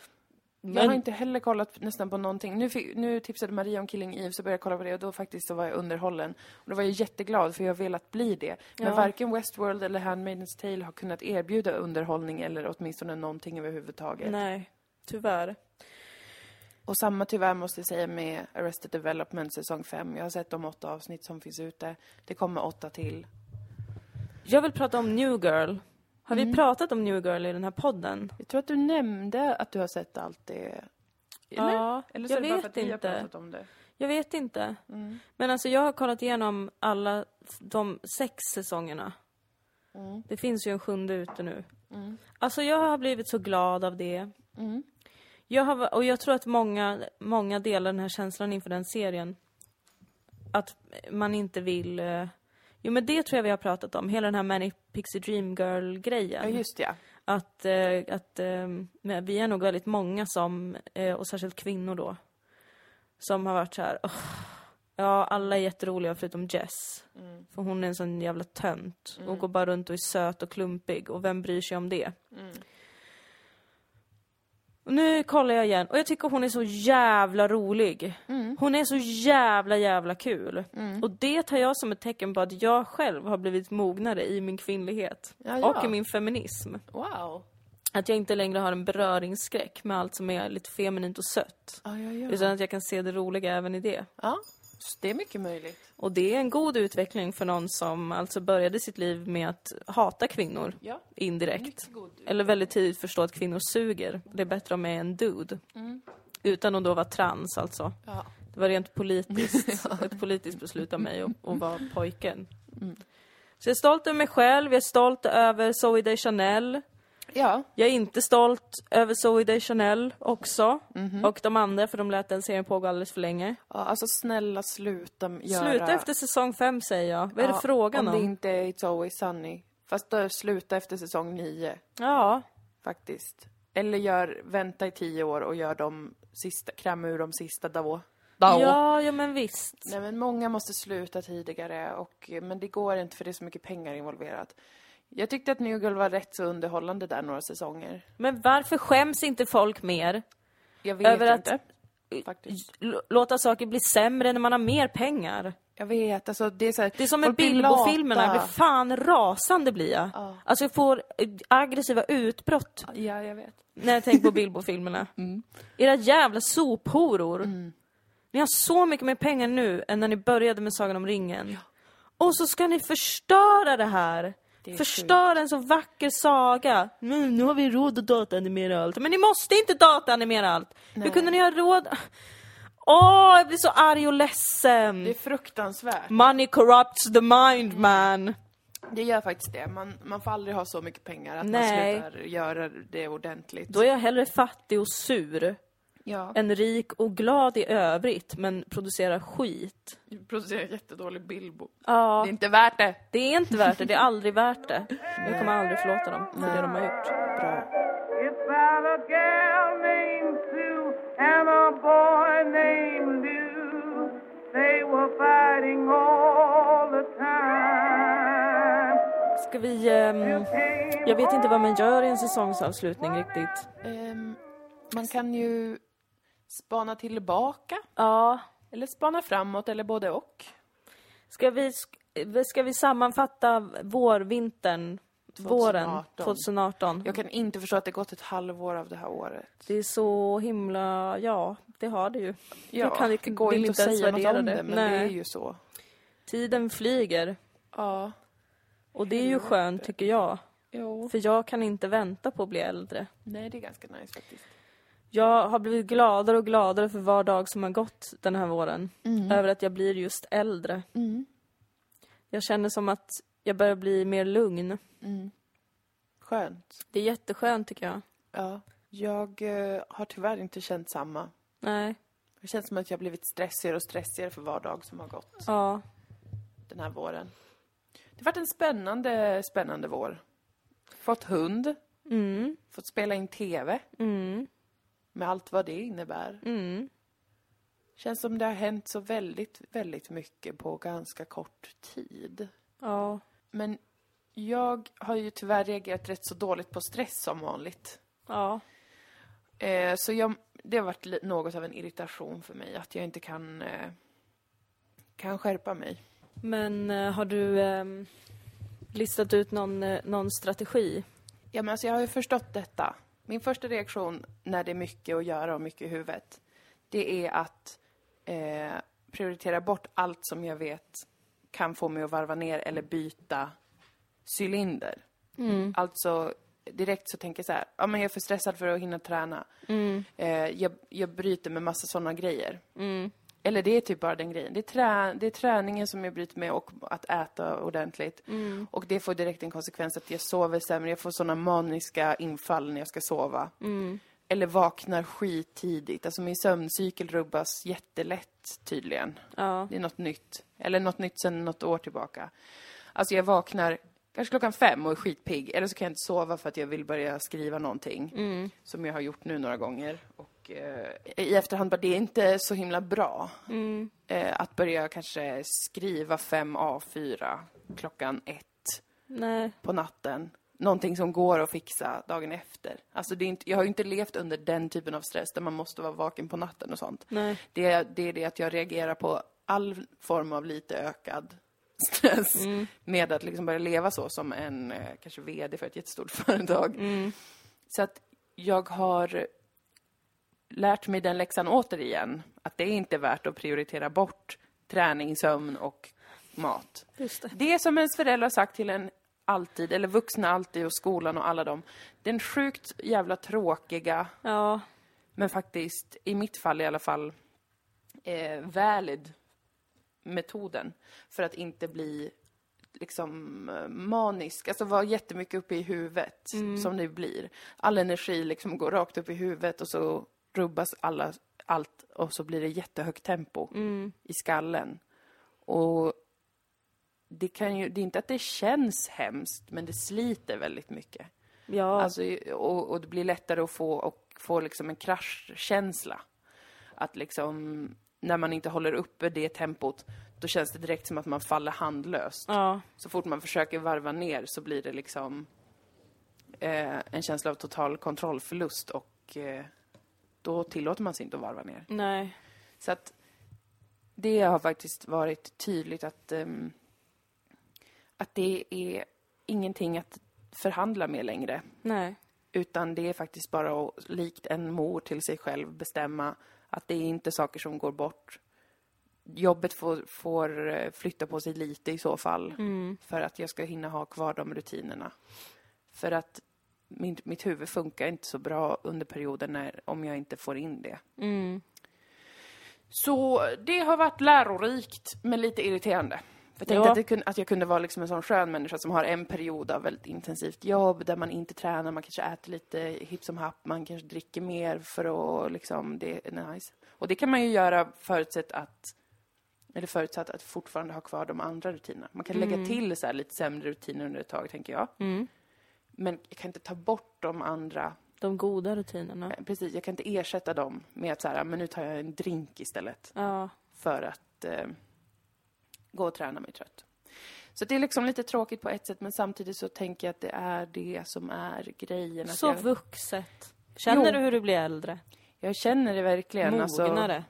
S1: Jag har
S2: Men
S1: inte heller kollat nästan på någonting. Nu, fick, nu tipsade Maria om Killing Eve så började jag kolla på det och då faktiskt så var jag underhållen. Och då var jag jätteglad för jag har velat bli det. Men
S2: Ja.
S1: varken Westworld eller Handmaidens Tale har kunnat erbjuda underhållning eller åtminstone någonting överhuvudtaget.
S2: nej, tyvärr.
S1: Och samma tyvärr måste jag säga med Arrested Development säsong 5. Jag har sett de åtta avsnitt som finns ute. Det kommer åtta till.
S2: Jag vill prata om New Girl. Har
S1: Mm.
S2: vi pratat om New Girl i den här podden?
S1: Jag tror att du nämnde att du har sett allt det. Eller?
S2: Ja,
S1: Eller så
S2: jag
S1: är det bara
S2: vet
S1: för att vi har
S2: inte.
S1: pratat om det.
S2: Jag vet inte.
S1: Mm.
S2: Men alltså jag har kollat igenom alla f- de sex säsongerna.
S1: Mm.
S2: Det finns ju en sjunde ute nu.
S1: Mm.
S2: Alltså jag har blivit så glad av det.
S1: Mm.
S2: Jag har, och jag tror att många, många delar den här känslan inför den serien. Att man inte vill... eh, Jo men det tror jag vi har pratat om, hela den här Manic Pixie Dream Girl-grejen.
S1: Ja, just det. ja.
S2: Att, eh, att eh, men vi är nog väldigt många som, eh, och särskilt kvinnor då, som har varit så här. "Åh, ja, alla är jätteroliga förutom Jess.
S1: Mm.
S2: För hon är en sån jävla tönt och går bara runt och är söt och klumpig och vem bryr sig om det?
S1: Mm.
S2: Och nu kollar jag igen och jag tycker hon är så jävla rolig.
S1: Mm.
S2: Hon är så jävla jävla kul. Och det tar jag som ett tecken på att jag själv har blivit mognare i min kvinnlighet.
S1: Ja, ja.
S2: Och i min feminism.
S1: Wow.
S2: Att jag inte längre har en beröringsskräck med allt som är lite feminint och sött.
S1: Ja, ja, ja.
S2: Utan att jag kan se det roliga även i det.
S1: Ja, så det är mycket möjligt.
S2: Och det är en god utveckling för någon som alltså började sitt liv med att hata kvinnor
S1: Ja,
S2: indirekt.
S1: mycket god.
S2: Eller väldigt tidigt förstå att kvinnor suger. Det är bättre om jag är en dude.
S1: Mm.
S2: Utan att då vara trans alltså.
S1: Ja.
S2: Det var rent politiskt, ett politiskt beslut av mig att, att vara pojken.
S1: Mm.
S2: Så jag är stolt över mig själv, jag är stolt över Zoe de Chanel.
S1: Ja.
S2: Jag är inte stolt över Zoe de Chanel också.
S1: Mhm.
S2: Och de andra, för de lät den serien pågå alldeles för länge.
S1: ja, alltså snälla sluta m- göra...
S2: Sluta efter säsong fem säger jag. Vad är det
S1: Ja,
S2: frågan om?
S1: Om det inte är It's Always Sunny. Fast då sluta efter säsong nio,
S2: Ja,
S1: faktiskt. Eller gör, vänta i tio år och gör de sista, kräma ur de sista då. Dao.
S2: ja, ja men visst.
S1: Nej men många måste sluta tidigare och, men det går inte för det är så mycket pengar involverat. Jag tyckte att New Girl var rätt så underhållande där några säsonger.
S2: Men varför skäms inte folk mer?
S1: Jag vet
S2: Över att-
S1: inte. Faktiskt.
S2: L- låta saker bli sämre när man har mer pengar.
S1: Jag vet, alltså det är så här,
S2: Det är som med
S1: folk blir
S2: Bilbo-filmerna, jag
S1: lata.
S2: blir fan rasande blir jag.
S1: Ja.
S2: Alltså jag får eh, aggressiva utbrott
S1: Ja, jag vet.
S2: när jag tänker på Bilbo-filmerna.
S1: Mm.
S2: Era jävla sophoror. Ni har så mycket mer pengar nu än när ni började med Sagan om ringen. Och så ska ni förstöra det här!
S1: är
S2: förstöra en så vacker saga. Mm, Nu, nu har vi råd att dataanimera allt. Men ni måste inte dataanimera allt! Hur kunde ni ha råd? Åh, jag blir så arg och ledsen!
S1: Det är fruktansvärt.
S2: Money corrupts the mind man!
S1: Det gör faktiskt det. Man, man får aldrig ha så mycket pengar att
S2: Nej.
S1: man slutar göra det ordentligt.
S2: Då är jag hellre fattig och sur
S1: Ja.
S2: än rik och glad i övrigt men producerar skit.
S1: Du producerar jättedålig Bilbo.
S2: Ja.
S1: Det är inte värt det.
S2: Det är inte värt det, det är aldrig värt det. Jag kommer aldrig förlåta dem för det de har gjort.
S1: Bra.
S3: It's about a gal named Sue and a boy named Lou. They were fighting all the time.
S2: Ska vi... ehm, jag vet inte vad man gör i en säsongsavslutning riktigt.
S1: Ehm, man kan ju spana tillbaka,
S2: Ja,
S1: eller spana framåt, eller både och.
S2: Ska vi, sk- ska vi sammanfatta vårvintern? Våren
S1: 2018.
S2: 2018.
S1: Jag kan inte förstå att det gått ett halvår av det här året.
S2: Det är så himla, ja, det har det ju.
S1: Ja,
S2: kan inte-
S1: det går
S2: vill
S1: inte att
S2: inte ens
S1: säga något
S2: värdera
S1: om det,
S2: det.
S1: men det
S2: Nej.
S1: är ju så.
S2: Tiden flyger
S1: Ja,
S2: och det är ju skönt tycker jag.
S1: jo.
S2: För jag kan inte vänta på att bli äldre.
S1: Nej, det är ganska nice faktiskt.
S2: Jag har blivit gladare och gladare för var dag som har gått den här våren. Över att jag blir just äldre. Jag känner som att jag börjar bli mer lugn.
S1: Skönt.
S2: Det är jätteskönt tycker jag.
S1: Ja. Jag eh, har tyvärr inte känt samma.
S2: Nej,
S1: Det känns som att jag blivit stressigare och stressigare för var dag som har gått
S2: ja.
S1: den här våren. Det har varit en spännande, spännande vår. Fått hund,
S2: Mm,
S1: fått spela in TV
S2: mm,
S1: med allt vad det innebär.
S2: mm.
S1: Känns som det har hänt så väldigt, väldigt mycket på ganska kort tid.
S2: Ja.
S1: Men jag har ju tyvärr reagerat rätt så dåligt på stress som vanligt.
S2: Ja.
S1: Eh, så jag, det har varit li- något av en irritation för mig att jag inte kan, eh, kan skärpa mig.
S2: Men eh, har du ehm, listat ut någon, eh, någon strategi?
S1: Ja, men alltså jag har ju förstått detta. Min första reaktion när det är mycket att göra och mycket i huvudet, det är att eh, prioritera bort allt som jag vet kan få mig att varva ner eller byta cylinder. Alltså, direkt så tänker jag så här, ja men jag är för stressad för att hinna träna. Eh, jag, jag bryter med massa sådana grejer. Eller det är typ bara den grejen. Det är, trä, det är träningen som jag bryter med och att äta ordentligt. Och det får direkt en konsekvens att jag sover sämre, jag får sådana maniska infall när jag ska sova. Eller vaknar skittidigt. Alltså min sömncykel rubbas jättelätt tydligen.
S2: Ja.
S1: Det är något nytt. Eller något nytt sedan något år tillbaka. Alltså jag vaknar kanske klockan fem och är skitpigg. Eller så kan jag inte sova för att jag vill börja skriva någonting. Som jag har gjort nu några gånger. Och eh, i efterhand bara, det är inte så himla bra. Eh, att börja kanske skriva fem A4 klockan ett
S2: Nej.
S1: på natten. Någonting som går att fixa dagen efter. Alltså det är inte, jag har ju inte levt under den typen av stress där man måste vara vaken på natten och sånt.
S2: Nej.
S1: Det, är- det är det att jag reagerar på all form av lite ökad stress
S2: Mm.
S1: med att liksom börja leva så som en eh, kanske VD för ett jättestort företag.
S2: Mm.
S1: Så att jag har lärt mig den läxan återigen. Att det är inte värt att prioritera bort träning, sömn och mat.
S2: Just det.
S1: Det som ens föräldrar har sagt till en alltid, eller vuxna alltid och skolan och alla dem. Den sjukt jävla tråkiga,
S2: Ja.
S1: men faktiskt, i mitt fall i alla fall, eh, valid metoden för att inte bli liksom eh, manisk, alltså vara jättemycket uppe i huvudet som det blir. All energi liksom går rakt upp i huvudet och så rubbas alla, allt och så blir det jättehögt tempo i skallen. Och det kan ju, det är inte att det känns hemskt, men det sliter väldigt mycket.
S2: Ja.
S1: Alltså, och, och det blir lättare att få, och få liksom en kraschkänsla. Att liksom, när man inte håller uppe det tempot, då känns det direkt som att man faller handlöst.
S2: ja.
S1: Så fort man försöker varva ner så blir det liksom eh, en känsla av total kontrollförlust och eh, då tillåter man sig inte att varva ner.
S2: Nej.
S1: Så att det har faktiskt varit tydligt att, ehm, att det är ingenting att förhandla med längre.
S2: Nej.
S1: Utan det är faktiskt bara att, likt en mor till sig själv, bestämma att det är inte saker som går bort. Jobbet får, får eh, flytta på sig lite i så fall,
S2: Mm,
S1: för att jag ska hinna ha kvar de rutinerna. För att min, mitt huvud funkar inte så bra under perioden när, om jag inte får in det. Så det har varit lärorikt, men lite irriterande. För jag tänkte
S2: Ja.
S1: att, det kunde, att jag kunde vara liksom en sån skön människa som har en period av väldigt intensivt jobb där man inte tränar, man kanske äter lite hipp som happ, man kanske dricker mer för att liksom, det är nice. Och det kan man ju göra förutsatt att, eller förutsatt att fortfarande ha kvar de andra rutinerna. Man kan lägga till så här lite sämre rutiner under ett tag, tänker jag.
S2: mm.
S1: Men jag kan inte ta bort de andra
S2: De goda rutinerna.
S1: Eh, Precis, jag kan inte ersätta dem med att så här, "Ah, men nu tar jag en drink istället
S2: Ja.
S1: för att eh, gå och träna mig trött. Så det är liksom lite tråkigt på ett sätt, men samtidigt så tänker jag att det är det som är grejen. Att
S2: Så
S1: jag,
S2: vuxet. Känner
S1: Jo.
S2: du hur du blir äldre?
S1: jag känner det verkligen. alltså-
S2: Mognare?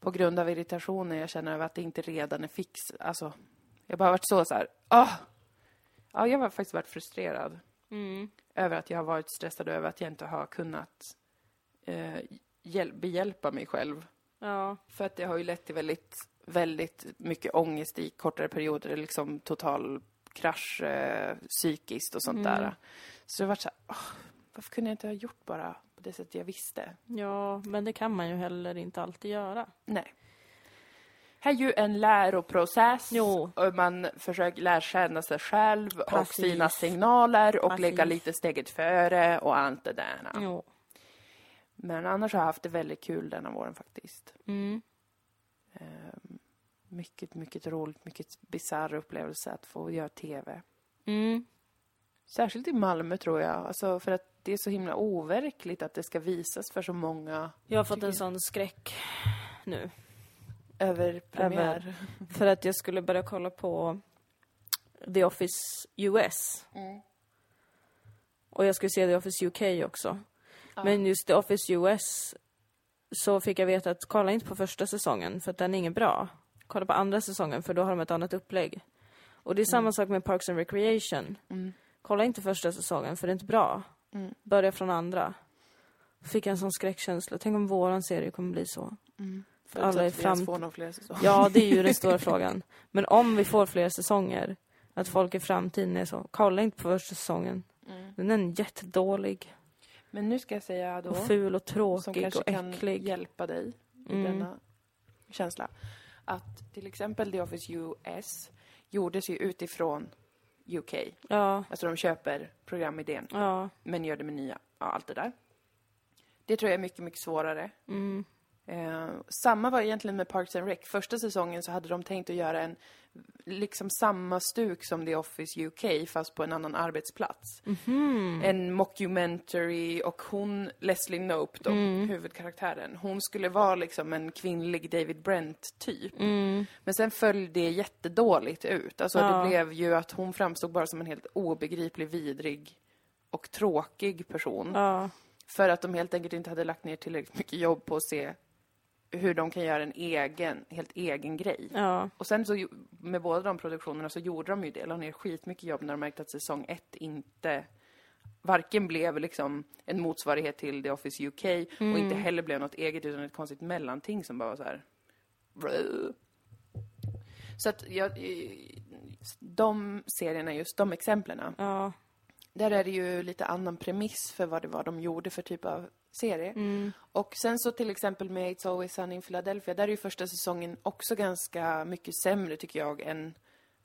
S1: på grund av irritationen jag känner över att det inte redan är fix. Alltså, jag har bara varit så så här, åh! Ja, jag har faktiskt varit frustrerad
S2: Mm.
S1: över att jag har varit stressad över att jag inte har kunnat eh, hjäl- behjälpa mig själv.
S2: Ja.
S1: För att det har ju lett till väldigt, väldigt mycket ångest i kortare perioder, liksom total krasch eh, psykiskt och sånt
S2: Mm.
S1: där. Så det har varit så här, "Åh, varför kunde jag inte ha gjort bara på det sättet jag visste?
S2: ja, men det kan man ju heller inte alltid göra.
S1: Nej. Här är ju en läroprocess.
S2: Jo.
S1: Och man försöker lära känna sig själv och
S2: Precis.
S1: sina signaler och
S2: Precis.
S1: ligga lite steget före och allt det där.
S2: Jo.
S1: Men annars har jag haft det väldigt kul denna våren faktiskt.
S2: Mm.
S1: Ehm, mycket, mycket roligt, mycket bisarr upplevelse att få göra TV.
S2: Mm.
S1: Särskilt i Malmö tror jag, alltså för att det är så himla overkligt att det ska visas för så många
S2: Jag har fått
S1: Tycker-
S2: en sån skräck nu.
S1: över premiär.
S2: Över. För att jag skulle börja kolla på The Office US.
S1: Mm.
S2: Och jag skulle se The Office UK också. Men just The Office US så fick jag veta att kolla inte på första säsongen för att den är ingen bra. Kolla på andra säsongen för då har de ett annat upplägg. Och det är samma
S1: Mm.
S2: sak med Parks and Recreation. Kolla inte första säsongen för det är inte bra.
S1: Mm.
S2: Börja från andra. Fick jag en sån skräckkänsla. Tänk om våran serie kommer bli så. För
S1: Alla
S2: alla
S1: Mm.
S2: är
S1: att vi ens
S2: fram...
S1: får någon fler säsong.
S2: Ja, det är ju den stora frågan. Men om vi får fler säsonger, att folk i framtiden är så, kolla inte på första säsongen. Den är jättedålig
S1: Men nu ska jag säga då,
S2: och ful och
S1: som
S2: tråkig
S1: kanske
S2: och
S1: kan
S2: äcklig.
S1: hjälpa dig i
S2: Mm.
S1: denna känsla, att till exempel The Office US gjordes ju utifrån UK.
S2: Ja,
S1: Alltså de köper programidén.
S2: ja,
S1: men gör det med nya. Ja, allt det där. Det tror jag är mycket, mycket svårare.
S2: mm,
S1: Eh, samma var egentligen med Parks and Rec. Första säsongen så hade de tänkt att göra en, liksom samma stuk som The Office UK, fast på en annan arbetsplats. En mockumentary och hon, Leslie Knope då, huvudkaraktären, hon skulle vara liksom en kvinnlig David Brent-typ. Men sen föll det jättedåligt ut. Alltså det blev ju att hon framstod bara som en helt obegriplig, vidrig och tråkig person.
S2: ja,
S1: För att de helt enkelt inte hade lagt ner tillräckligt mycket jobb på att se hur de kan göra en egen, helt egen grej.
S2: ja,
S1: Och sen så, ju- med båda de produktionerna så gjorde de ju det, la ner skitmycket jobb när de märkte att säsong ett inte varken blev liksom en motsvarighet till The Office UK och
S2: Mm.
S1: inte heller blev något eget utan ett konstigt mellanting som bara var så här. Brö. Så att jag, i- de serierna, just de exemplen,
S2: ja,
S1: där är det ju lite annan premiss för vad det var de gjorde för typ av serie. Och sen så till exempel med It's Always Sunny in Philadelphia, där är ju första säsongen också ganska mycket sämre tycker jag än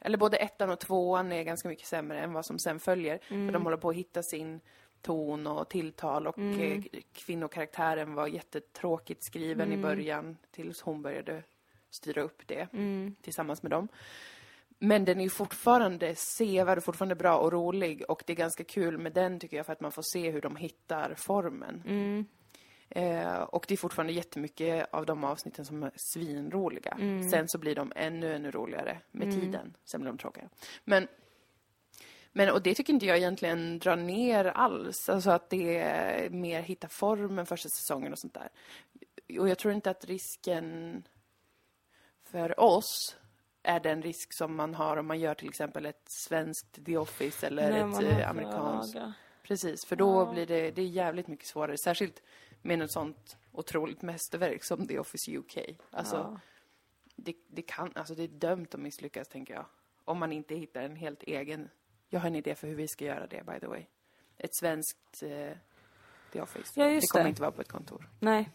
S1: eller både ettan och tvåan är ganska mycket sämre än vad som sen följer. För de håller på att hitta sin ton och tilltal och eh, kvinnokaraktären var jättetråkigt skriven i början tills hon började styra upp det tillsammans med dem. Men den är ju fortfarande sevärd och fortfarande bra och rolig och det är ganska kul med den tycker jag för att man får se hur de hittar formen. Eh, och det är fortfarande jättemycket av de avsnitten som är svinroliga.
S2: Mm.
S1: Sen så blir de ännu, ännu roligare med tiden. Sen blir de tråkiga. Men, men, och det tycker inte jag egentligen drar ner alls. Alltså att det är mer hitta formen första säsongen och sånt där. Och jag tror inte att risken för oss är den risk som man har om man gör till exempel ett svenskt The Office eller
S2: När man
S1: ett
S2: har
S1: eh, amerikanskt.
S2: förlaga.
S1: Precis, för då blir det, det är jävligt mycket svårare. Särskilt med något sånt otroligt mästerverk som The Office UK. Alltså,
S2: Ja.
S1: det, det kan, alltså det är dömt att misslyckas tänker jag. Om man inte hittar en helt egen, jag har en idé för hur vi ska göra det by the way. Ett svenskt eh, The Office.
S2: Ja,
S1: det
S2: just
S1: kommer
S2: det.
S1: inte vara på ett kontor.
S2: nej,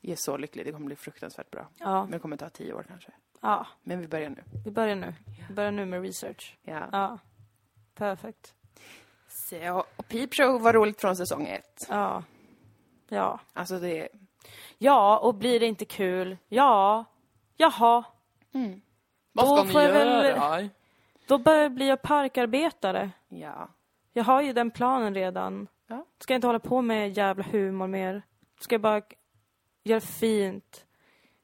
S1: Jag är så lycklig, det kommer bli fruktansvärt bra.
S2: ja,
S1: Men det kommer ta tio år kanske.
S2: ja,
S1: Men vi börjar nu.
S2: vi börjar nu. Vi börjar nu med research.
S1: Ja.
S2: Ja, perfekt.
S1: Så, och Peep Show var roligt från säsong ett.
S2: Ja, ja.
S1: Alltså det,
S2: Ja, och blir det inte kul, ja, jaha.
S1: vad
S2: Då
S1: ska ni
S2: får jag väl-
S1: göra?
S2: Då börjar jag bli parkarbetare.
S1: Ja.
S2: Jag har ju den planen redan.
S1: Ja.
S2: Ska jag inte hålla på med jävla humor mer. Ska jag bara göra fint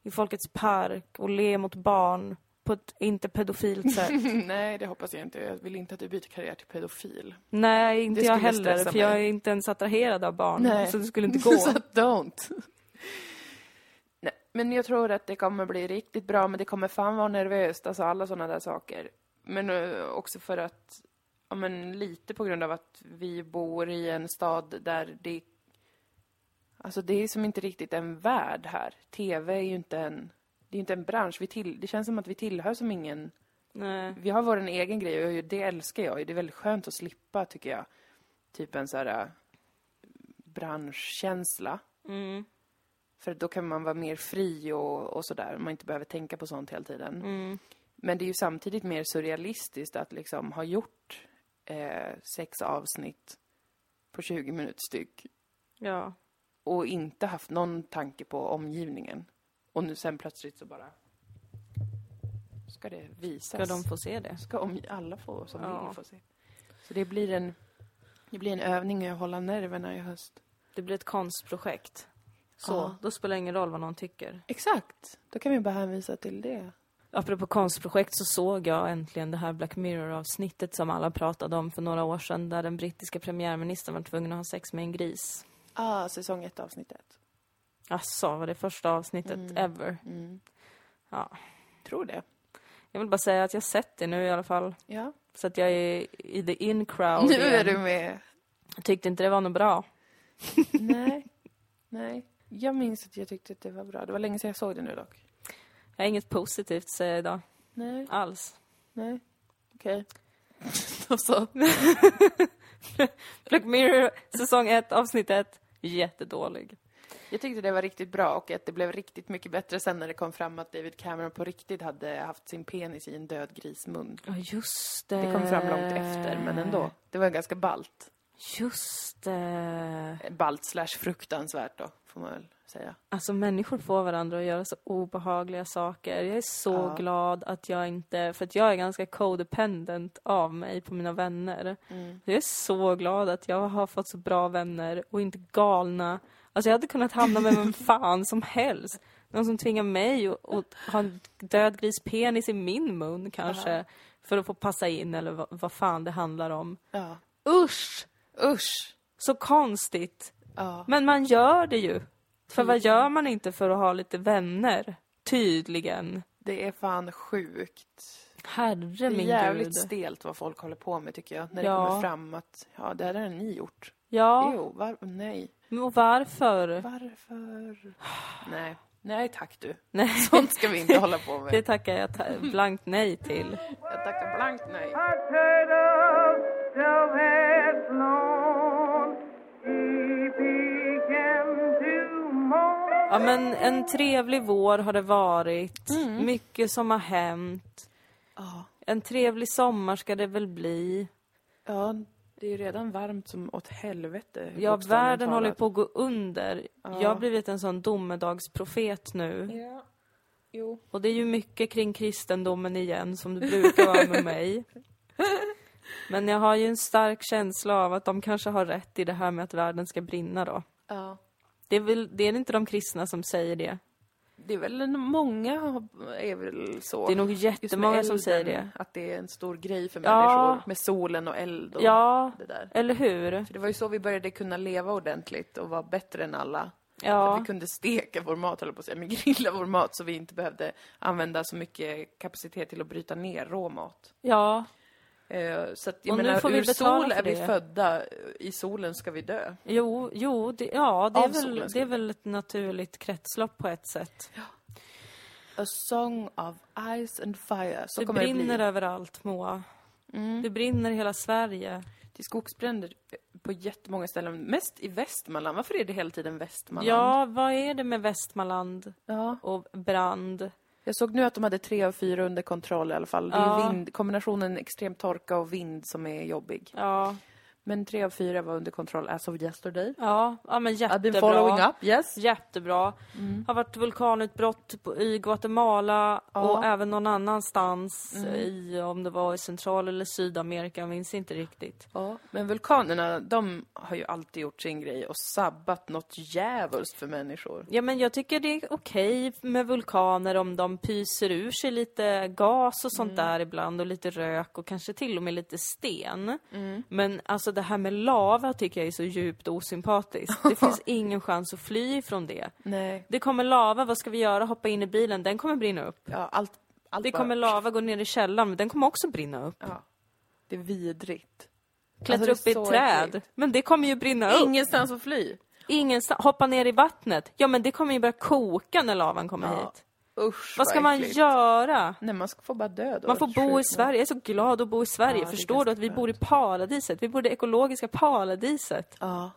S2: i Folkets park och le mot barn på ett inte pedofilt sätt.
S1: Nej, det hoppas jag inte. Jag vill inte att du byter karriär till pedofil.
S2: Nej, inte
S1: Det
S2: jag
S1: skulle
S2: heller,
S1: stressa
S2: för jag
S1: mig.
S2: är inte ens attraherad av barn.
S1: Nej.
S2: Så det skulle inte gå.
S1: Så don't. Nej, Men jag tror att det kommer bli riktigt bra, men det kommer fan vara nervöst, alltså alla sådana där saker. Men eh, också för att, ja men lite på grund av att vi bor i en stad där det, alltså det är som inte riktigt en värld här. TV är ju inte en, det är inte en bransch, vi till, det känns som att vi tillhör som ingen,
S2: Nej.
S1: vi har vår egen grej och det älskar jag ju. Det är väldigt skönt att slippa, tycker jag, typ en sån här eh, branschkänsla.
S2: Mm.
S1: För då kan man vara mer fri och, och sådär, man inte behöver tänka på sånt hela tiden.
S2: Mm.
S1: Men det är ju samtidigt mer surrealistiskt att liksom ha gjort eh, sex avsnitt på 20 minuter styck
S2: Ja.
S1: och inte haft någon tanke på omgivningen. Och nu sen plötsligt så bara ska det
S2: Ska
S1: visas.
S2: de få se det?
S1: ska om, alla få som
S2: Ja.
S1: vill få se. Så det blir en, det blir en övning i att hålla nerverna i höst.
S2: Det blir ett konstprojekt. Så,
S1: Ja.
S2: då spelar det ingen roll vad någon tycker.
S1: Exakt! Då kan vi bara hänvisa till det.
S2: Apropå konstprojekt så såg jag äntligen det här Black Mirror-avsnittet som alla pratade om för några år sedan där den brittiska premiärministern var tvungen att ha sex med en gris.
S1: Ah, säsong ett avsnittet.
S2: Asså, var det första avsnittet ever? Ja.
S1: Mm. Tror det.
S2: Jag vill bara säga att jag sett det nu i alla fall.
S1: Ja.
S2: Så att jag är i the in crowd
S1: nu
S2: igen.
S1: är du med.
S2: Jag tyckte inte det var något bra.
S1: Nej. Nej. Jag minns att jag tyckte att det var bra. Det var länge sedan jag såg det nu dock.
S2: Jag har inget positivt att säga idag.
S1: Nej.
S2: Alls.
S1: Nej. Okej. Då så.
S2: Black Mirror säsong 1, avsnitt 1. Jättedålig.
S1: Jag tyckte det var riktigt bra och att det blev riktigt mycket bättre sen när det kom fram att David Cameron på riktigt hade haft sin penis i en död grismun.
S2: Ja, just det.
S1: Det kom fram långt efter, men ändå. Eh. Det var ganska balt. eh,
S2: Just det.
S1: Balt slash fruktansvärt då, får man väl säga.
S2: Alltså människor får varandra att göra så obehagliga saker. Jag är så
S1: Ja.
S2: glad att jag inte, för att jag är ganska codependent av mig på mina vänner. Jag är så glad att jag har fått så bra vänner och inte galna. Alltså jag hade kunnat hamna med vem fan som helst. Någon som tvingar mig att att ha en död gris penis i min mun kanske. För att få passa in eller vad, vad fan det handlar om.
S1: Ja.
S2: Usch!
S1: Usch!
S2: Så konstigt.
S1: Ja. Mm.
S2: Men man gör det ju. För vad gör man inte för att ha lite vänner? Tydligen.
S1: Det är fan sjukt.
S2: Herre
S1: Det är
S2: min
S1: jävligt
S2: gud.
S1: stelt vad folk håller på med tycker jag. När
S2: Ja.
S1: det kommer fram att, ja det här har ni gjort.
S2: ja,
S1: Jo, var, nej.
S2: men och varför?
S1: Varför? nej. Nej tack du.
S2: Nej,
S1: Sånt ska vi inte hålla på
S2: det
S1: med.
S2: tackar jag ta- blankt nej till.
S1: Jag tackar blankt nej.
S3: A turtle dove had flown. He began to moan.
S2: Ja men en trevlig vår har det varit. Mycket som har hänt.
S1: Mm. Ja.
S2: En trevlig sommar ska det väl bli.
S1: Ja, det är ju redan varmt som åt helvete.
S2: Ja,
S1: bokstavligen
S2: världen
S1: talat.
S2: håller på att gå under. Jag har blivit en sån domedagsprofet nu.
S1: Ja. Jo.
S2: Och det är ju mycket kring kristendomen igen som det brukar vara med mig. Men jag har ju en stark känsla av att de kanske har rätt i det här med att världen ska brinna då.
S1: Ja.
S2: Det är väl det är inte de kristna som säger det?
S1: Det är väl en- många har- är väl så.
S2: Det är nog
S1: Just med
S2: jättemånga som säger
S1: elden,
S2: det.
S1: Att det är en stor grej för
S2: Ja.
S1: människor. Med solen och eld och
S2: Ja,
S1: det där.
S2: eller hur?
S1: För det var ju så vi började kunna leva ordentligt och vara bättre än alla. Så att
S2: Ja,
S1: vi kunde steka vår mat, höll jag på att säga, men grilla vår mat så vi inte behövde använda så mycket kapacitet till att bryta ner råmat.
S2: ja,
S1: Eh, Så att jag
S2: Och nu
S1: menar,
S2: får vi
S1: ur
S2: betala
S1: sol
S2: för
S1: är vi
S2: det.
S1: födda, i solen ska vi dö.
S2: jo, jo, det, ja, det är,
S1: Av solen
S2: väl,
S1: ska
S2: det är
S1: vi-
S2: väl ett naturligt kretslopp på ett sätt.
S1: A song of ice and fire. Så
S2: Det
S1: kommer det
S2: brinner
S1: bli.
S2: överallt, Moa. Det brinner i hela Sverige.
S1: Det är skogsbränder på jättemånga ställen, mest i Västmanland. Varför är det hela tiden Västmanland?
S2: Ja, vad är det med Västmanland
S1: Ja.
S2: och brand?
S1: Jag såg nu att de hade tre av fyra under kontroll i alla fall. Det är
S2: Ja.
S1: vind, kombinationen extrem torka och vind som är jobbig.
S2: Ja,
S1: Men tre av fyra var under kontroll as of yesterday.
S2: ja, ja men
S1: I've been
S2: jättebra.
S1: following up, yes. Mm.
S2: Jättebra. Har varit vulkanutbrott på, i Guatemala och även någon annanstans
S1: Mm.
S2: i, om det var i Central eller Sydamerika, jag minns inte riktigt.
S1: Ja, men vulkanerna, de har ju alltid gjort sin grej och sabbat något djävulskt för människor.
S2: Ja men jag tycker det är okej med vulkaner om de pyser ur sig lite
S1: Mm. Mm.
S2: gas och sånt där ibland och lite rök och kanske till och med lite sten. Men alltså det här med lava tycker jag är så djupt osympatiskt. Det finns ingen chans att fly ifrån det.
S1: Nej.
S2: Det kommer lava, vad ska vi göra? Hoppa in i bilen, den kommer brinna upp.
S1: Ja, allt, allt
S2: Det
S1: bara-
S2: kommer lava, gå ner i källaren, men den kommer också brinna upp.
S1: Ja. Det är vidrigt.
S2: Klättra
S1: Alltså, det är
S2: upp i ett
S1: så
S2: träd,
S1: äckligt.
S2: men det kommer ju brinna upp.
S1: Ingenstans att fly.
S2: Ingenstans, hoppa ner i vattnet, ja men det kommer ju börja koka när lavan kommer
S1: Ja,
S2: hit.
S1: Usch,
S2: Vad ska man
S1: äckligt.
S2: göra?
S1: Nej, man ska få bara dö då.
S2: Man får bo i
S1: Sjukt.
S2: Sverige, jag är så glad att bo i Sverige.
S1: Ja, det är
S2: Förstår du
S1: ganska
S2: att vi
S1: skönt.
S2: bor i paradiset? Vi bor i det ekologiska paradiset.
S1: Ja.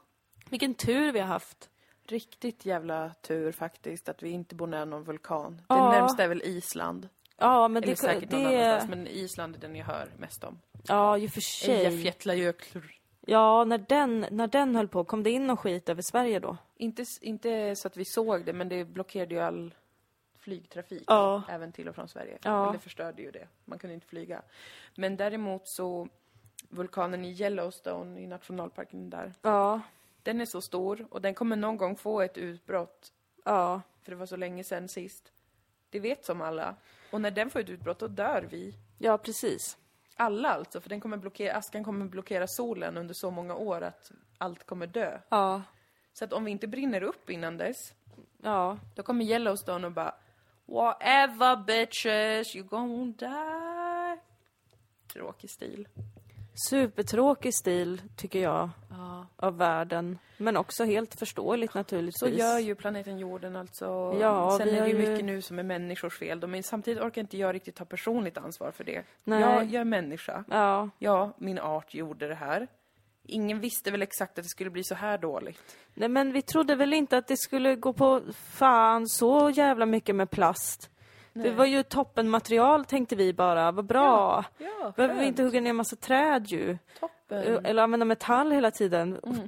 S2: Vilken tur vi har haft.
S1: Riktigt jävla tur faktiskt att vi inte bor nära någon vulkan.
S2: Ja.
S1: Det närmsta är väl Island.
S2: Ja, men
S1: Eller
S2: det...
S1: säkert någon
S2: det
S1: annanstans, men Island är den jag hör mest om.
S2: ja, ju för
S1: Eja
S2: sig.
S1: Fjättlajökull.
S2: Ja, när den, när den höll på, kom det in någon skit över Sverige då?
S1: Inte, s- inte så att vi såg det, men det blockerade ju all flygtrafik.
S2: Ja.
S1: Även till och från Sverige.
S2: Ja.
S1: Men det förstörde ju det. Man kunde inte flyga. Men däremot så, vulkanen i Yellowstone, i nationalparken där.
S2: Ja,
S1: Den är så stor och den kommer någon gång få ett utbrott.
S2: ja.
S1: För det var så länge sedan sist. Det vet som alla. Och när den får ett utbrott, då dör vi.
S2: Ja, precis.
S1: Alla alltså, för den kommer blockera, askan kommer blockera solen under så många år att allt kommer dö.
S2: Ja,
S1: Så att om vi inte brinner upp innan dess,
S2: ja.
S1: då kommer Yellowstone och bara Whatever bitches, you gonna die. Tråkig stil.
S2: Supertråkig stil, tycker jag,
S1: Ja.
S2: av världen. Men också helt förståeligt naturligtvis.
S1: Så gör ju planeten jorden alltså.
S2: Ja,
S1: Sen
S2: vi
S1: är det ju
S2: har ju-
S1: mycket nu som är människors fel. De är, samtidigt orkar inte jag riktigt ta personligt ansvar för det.
S2: Nej.
S1: Jag, jag är människa.
S2: Ja.
S1: Ja, min art gjorde det här. Ingen visste väl exakt att det skulle bli så här dåligt.
S2: Nej, men vi trodde väl inte att det skulle gå på fan så jävla mycket med plast. Det var ju toppenmaterial tänkte vi bara, vad bra.
S1: Ja,
S2: Behöver vi inte hugga ner massa träd ju? Eh,
S1: Toppen.
S2: Eller använda metall hela tiden.
S1: Mm.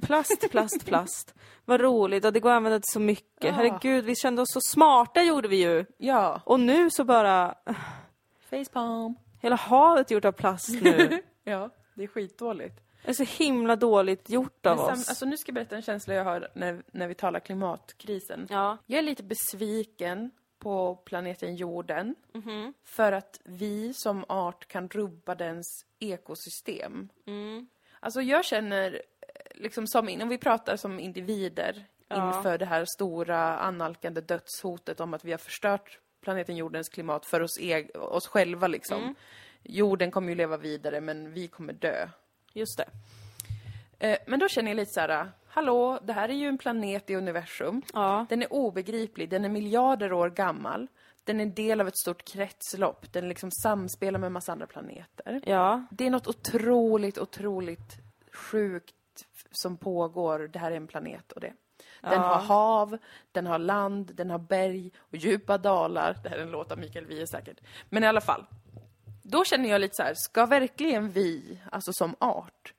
S2: Plast, plast, plast. Vad roligt, och det går att använda till så mycket. Herregud, vi kände oss så smarta gjorde vi ju.
S1: Ja.
S2: Och nu så bara,
S1: Facepalm.
S2: hela havet är gjort av plast nu.
S1: Ja, det är skitdåligt.
S2: det är så himla dåligt gjort av
S1: Men sam-
S2: oss.
S1: alltså, nu ska jag berätta en känsla jag har när, när vi talar klimatkrisen.
S2: Ja.
S1: Jag är lite besviken på planeten jorden för att vi som art kan rubba dens ekosystem. Alltså jag känner, eh, liksom som in, om vi pratar som individer inför det här stora annalkande dödshotet om att vi har förstört planeten jordens klimat för oss, eg- oss själva liksom. Jorden kommer ju leva vidare men vi kommer dö.
S2: Just det.
S1: Eh, Men då känner jag lite så här, eh, hallå, det här är ju en planet i universum.
S2: Ja.
S1: Den är obegriplig, den är miljarder år gammal. Den är en del av ett stort kretslopp, den liksom samspelar med en massa andra planeter.
S2: Ja.
S1: Det är något otroligt, otroligt sjukt f- som pågår. Det här är en planet och det. Den har hav, den har land, den har berg och djupa dalar. Det här är en låt av Mikael Wiehe säkert. Men i alla fall. Då känner jag lite så här, ska verkligen vi, alltså som art,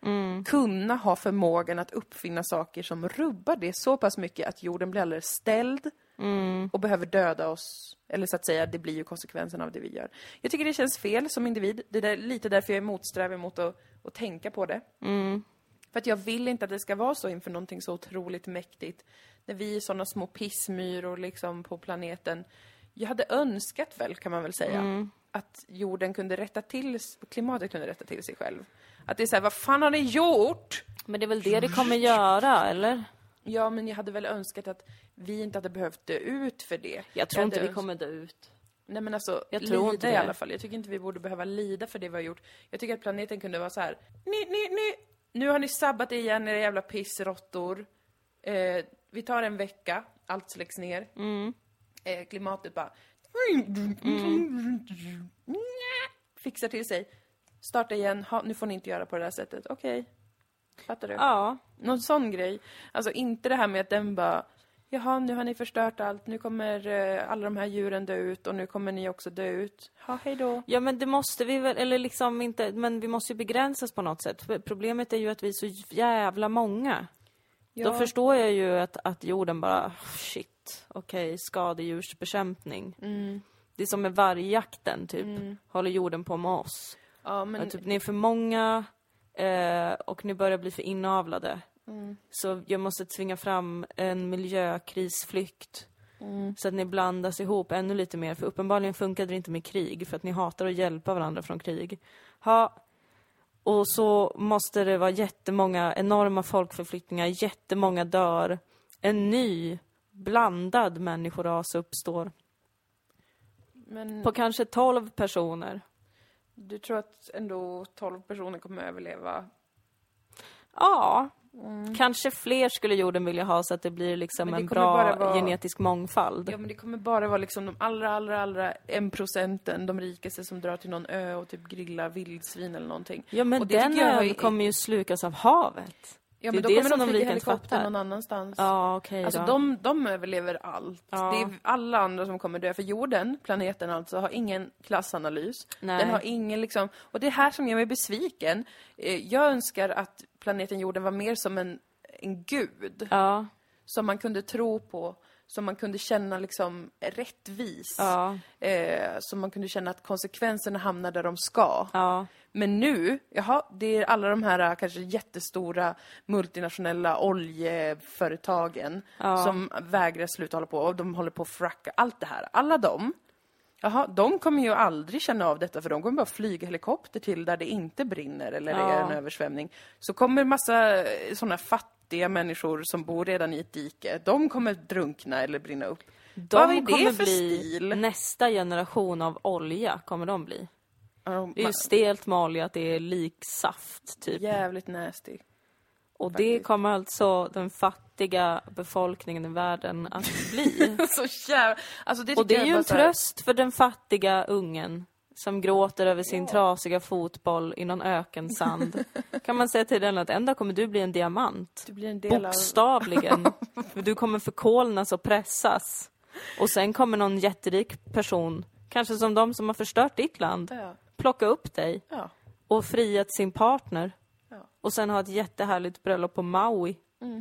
S1: kunna ha förmågan att uppfinna saker som rubbar det så pass mycket att jorden blir alldeles ställd och behöver döda oss. Eller så att säga, det blir ju konsekvensen av det vi gör. Jag tycker det känns fel som individ. Det är där, lite därför jag är motsträvig mot att, att tänka på det. För att jag vill inte att det ska vara så inför någonting så otroligt mäktigt. När vi är sådana små pissmyror liksom på planeten. Jag hade önskat väl, kan man väl säga,
S2: Mm.
S1: att jorden kunde rätta till, s- klimatet kunde rätta till sig själv. Att det är såhär, vad fan har ni gjort?
S2: Men det är väl det det kommer göra, eller?
S1: Ja, men jag hade väl önskat att vi inte hade behövt dö ut för det.
S2: Jag tror inte
S1: hade
S2: vi
S1: öns-
S2: kommer dö ut.
S1: Nej men alltså,
S2: Jag tror
S1: lida
S2: inte
S1: i
S2: det.
S1: alla fall. Jag tycker inte vi borde behöva lida för det vi har gjort. Jag tycker att planeten kunde vara så här. Ni, ni, ni, nu har ni sabbat det igen era jävla pissråttor. Eh, vi tar en vecka, allt släcks ner.
S2: Mm.
S1: Eh, klimatet bara... mm. Fixar till sig. Starta igen, ha, nu får ni inte göra på det här sättet. Okej. Fattar du?
S2: Ja.
S1: Någon sån grej. Alltså inte det här med att den bara Jaha, nu har ni förstört allt. Nu kommer eh, alla de här djuren dö ut och nu kommer ni också dö ut. Ha, hej då.
S2: Ja men det måste vi väl, eller liksom inte, men vi måste ju begränsas på något sätt. För Problemet är ju att vi är så jävla många. Då förstår jag ju att, att jorden bara, shit, okej, skadedjursbekämpning. Det är som med vargjakten typ, håller jorden på med oss.
S1: Ja, men
S2: Att, typ, ni är för många eh, och ni börjar bli för inavlade. Så jag måste tvinga fram en miljökrisflykt. Så att ni blandas ihop ännu lite mer, för uppenbarligen funkade det inte med krig, för att ni hatar att hjälpa varandra från krig. Ha, Och så måste det vara jättemånga enorma folkförflyttningar, jättemånga dör. En ny blandad människoras uppstår
S1: Men
S2: på kanske 12 personer.
S1: du tror att ändå 12 personer kommer att överleva?
S2: Ja, kanske fler skulle jorden vilja ha så att det blir liksom
S1: Mm. Men det
S2: en
S1: kommer bara
S2: bra
S1: vara-
S2: genetisk mångfald.
S1: Ja, men det kommer bara vara liksom de allra, allra, allra en procenten, de rikaste som drar till någon ö och typ grillar vildsvin eller någonting.
S2: Ja men
S1: Och det
S2: den
S1: tycker jag
S2: ön
S1: är-
S2: kommer ju slukas av havet.
S1: Ja,
S2: Det
S1: men
S2: är
S1: då
S2: det
S1: kommer
S2: som
S1: de
S2: de
S1: flyga
S2: rika inte
S1: helikopter
S2: fattar.
S1: någon annanstans.
S2: Ja okej då.
S1: Alltså de, de överlever allt.
S2: Ja.
S1: Det är alla andra som kommer dö. För jorden, planeten alltså, har ingen klassanalys.
S2: Nej.
S1: Den har ingen liksom... Och det är här som gör mig besviken. Eh, Jag önskar att planeten jorden var mer som en, en gud.
S2: Ja,
S1: Som man kunde tro på. Som man kunde känna liksom rättvis.
S2: ja,
S1: Eh, som man kunde känna att konsekvenserna hamnar där de ska.
S2: ja.
S1: Men nu, jaha, det är alla de här eh, kanske jättestora multinationella oljeföretagen som vägrar sluta hålla på och de håller på att fracka allt det här. Alla de, jaha, de kommer ju aldrig känna av detta för de kommer bara flyga helikopter till där det inte brinner eller är
S2: Ja.
S1: en översvämning. Så kommer massa sådana fattiga människor som bor redan i ett dike, de kommer drunkna eller brinna upp.
S2: De
S1: Vad är det
S2: kommer
S1: för
S2: bli
S1: stil?
S2: nästa generation av olja kommer de bli.
S1: Ja, de-
S2: Det är ju stelt med olja, att det är liksaft typ.
S1: Jävligt nasty.
S2: och det
S1: faktiskt.
S2: kommer alltså den fattiga befolkningen i världen att bli.
S1: Så jävla... Alltså det
S2: och det
S1: tycker
S2: är
S1: jag
S2: ju
S1: bara
S2: en
S1: så här-
S2: tröst för den fattiga ungen som gråter över sin trasiga fotboll i någon ökensand. kan man säga till den att en dag kommer du bli en diamant.
S1: Du blir en del av...
S2: Bokstavligen. Du kommer förkolnas och pressas. Och sen kommer någon jätterik person, kanske som de som har förstört ditt land,
S1: Ja.
S2: plocka upp dig
S1: Ja.
S2: och friat sin partner.
S1: Ja. Mm.
S2: Och sen ha ett jättehärligt bröllop på Maui.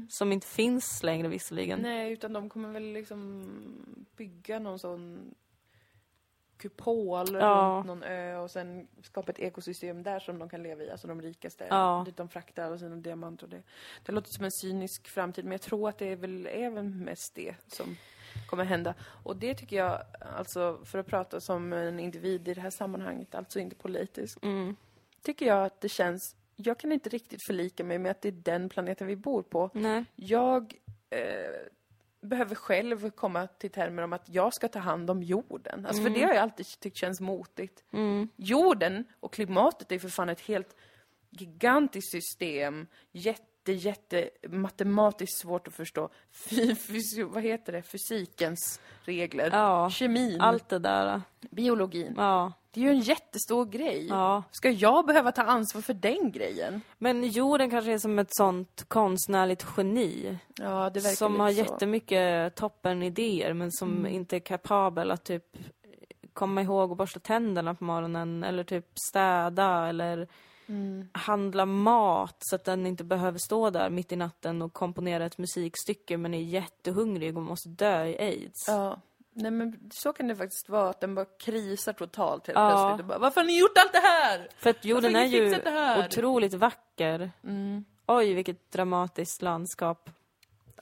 S2: Som inte finns längre visserligen.
S1: Nej, utan de kommer väl liksom bygga någon sån kupol
S2: Ja.
S1: runt någon ö och sen skapa ett ekosystem där som de kan leva i, alltså de rikaste.
S2: Ja.
S1: Dit de fraktar alla sina diamanter och det. Det låter som en cynisk framtid, men jag tror att det är väl även mest det som kommer hända. Och det tycker jag, alltså för att prata som en individ i det här sammanhanget, alltså inte politiskt,
S2: Mm.
S1: tycker jag att det känns, jag kan inte riktigt förlika mig med att det är den planeten vi bor på.
S2: Nej.
S1: Jag eh, behöver själv komma till termer om att jag ska ta hand om jorden. Alltså, För det har jag alltid tyckt känns motigt. Jorden och klimatet är för fan ett helt gigantiskt system. Jätte, jätte matematiskt svårt att förstå. Fy, fysio, vad heter det? Fysikens regler.
S2: Ja.
S1: Kemin.
S2: Allt det där.
S1: Biologin.
S2: Ja.
S1: Det är ju en jättestor grej.
S2: Ja.
S1: Ska jag behöva ta ansvar för den grejen?
S2: Men jorden kanske är som ett sånt konstnärligt geni.
S1: Ja, det verkar
S2: Som
S1: lite
S2: har
S1: så. Mm.
S2: jättemycket toppen idéer men som inte är kapabel att typ komma ihåg att borsta tänderna på morgonen eller typ städa eller
S1: Mm.
S2: handla mat så att den inte behöver stå där mitt i natten och komponera ett musikstycke men är jättehungrig och måste dö i aids.
S1: Ja. Nej men så kan det faktiskt vara, att den bara krisar totalt helt
S2: Ja.
S1: plötsligt. Och bara, Varför har ni gjort allt det här?
S2: För att jorden är
S1: Varför har ni
S2: ju
S1: fixat det här? Mm.
S2: otroligt vacker. Oj, vilket dramatiskt landskap.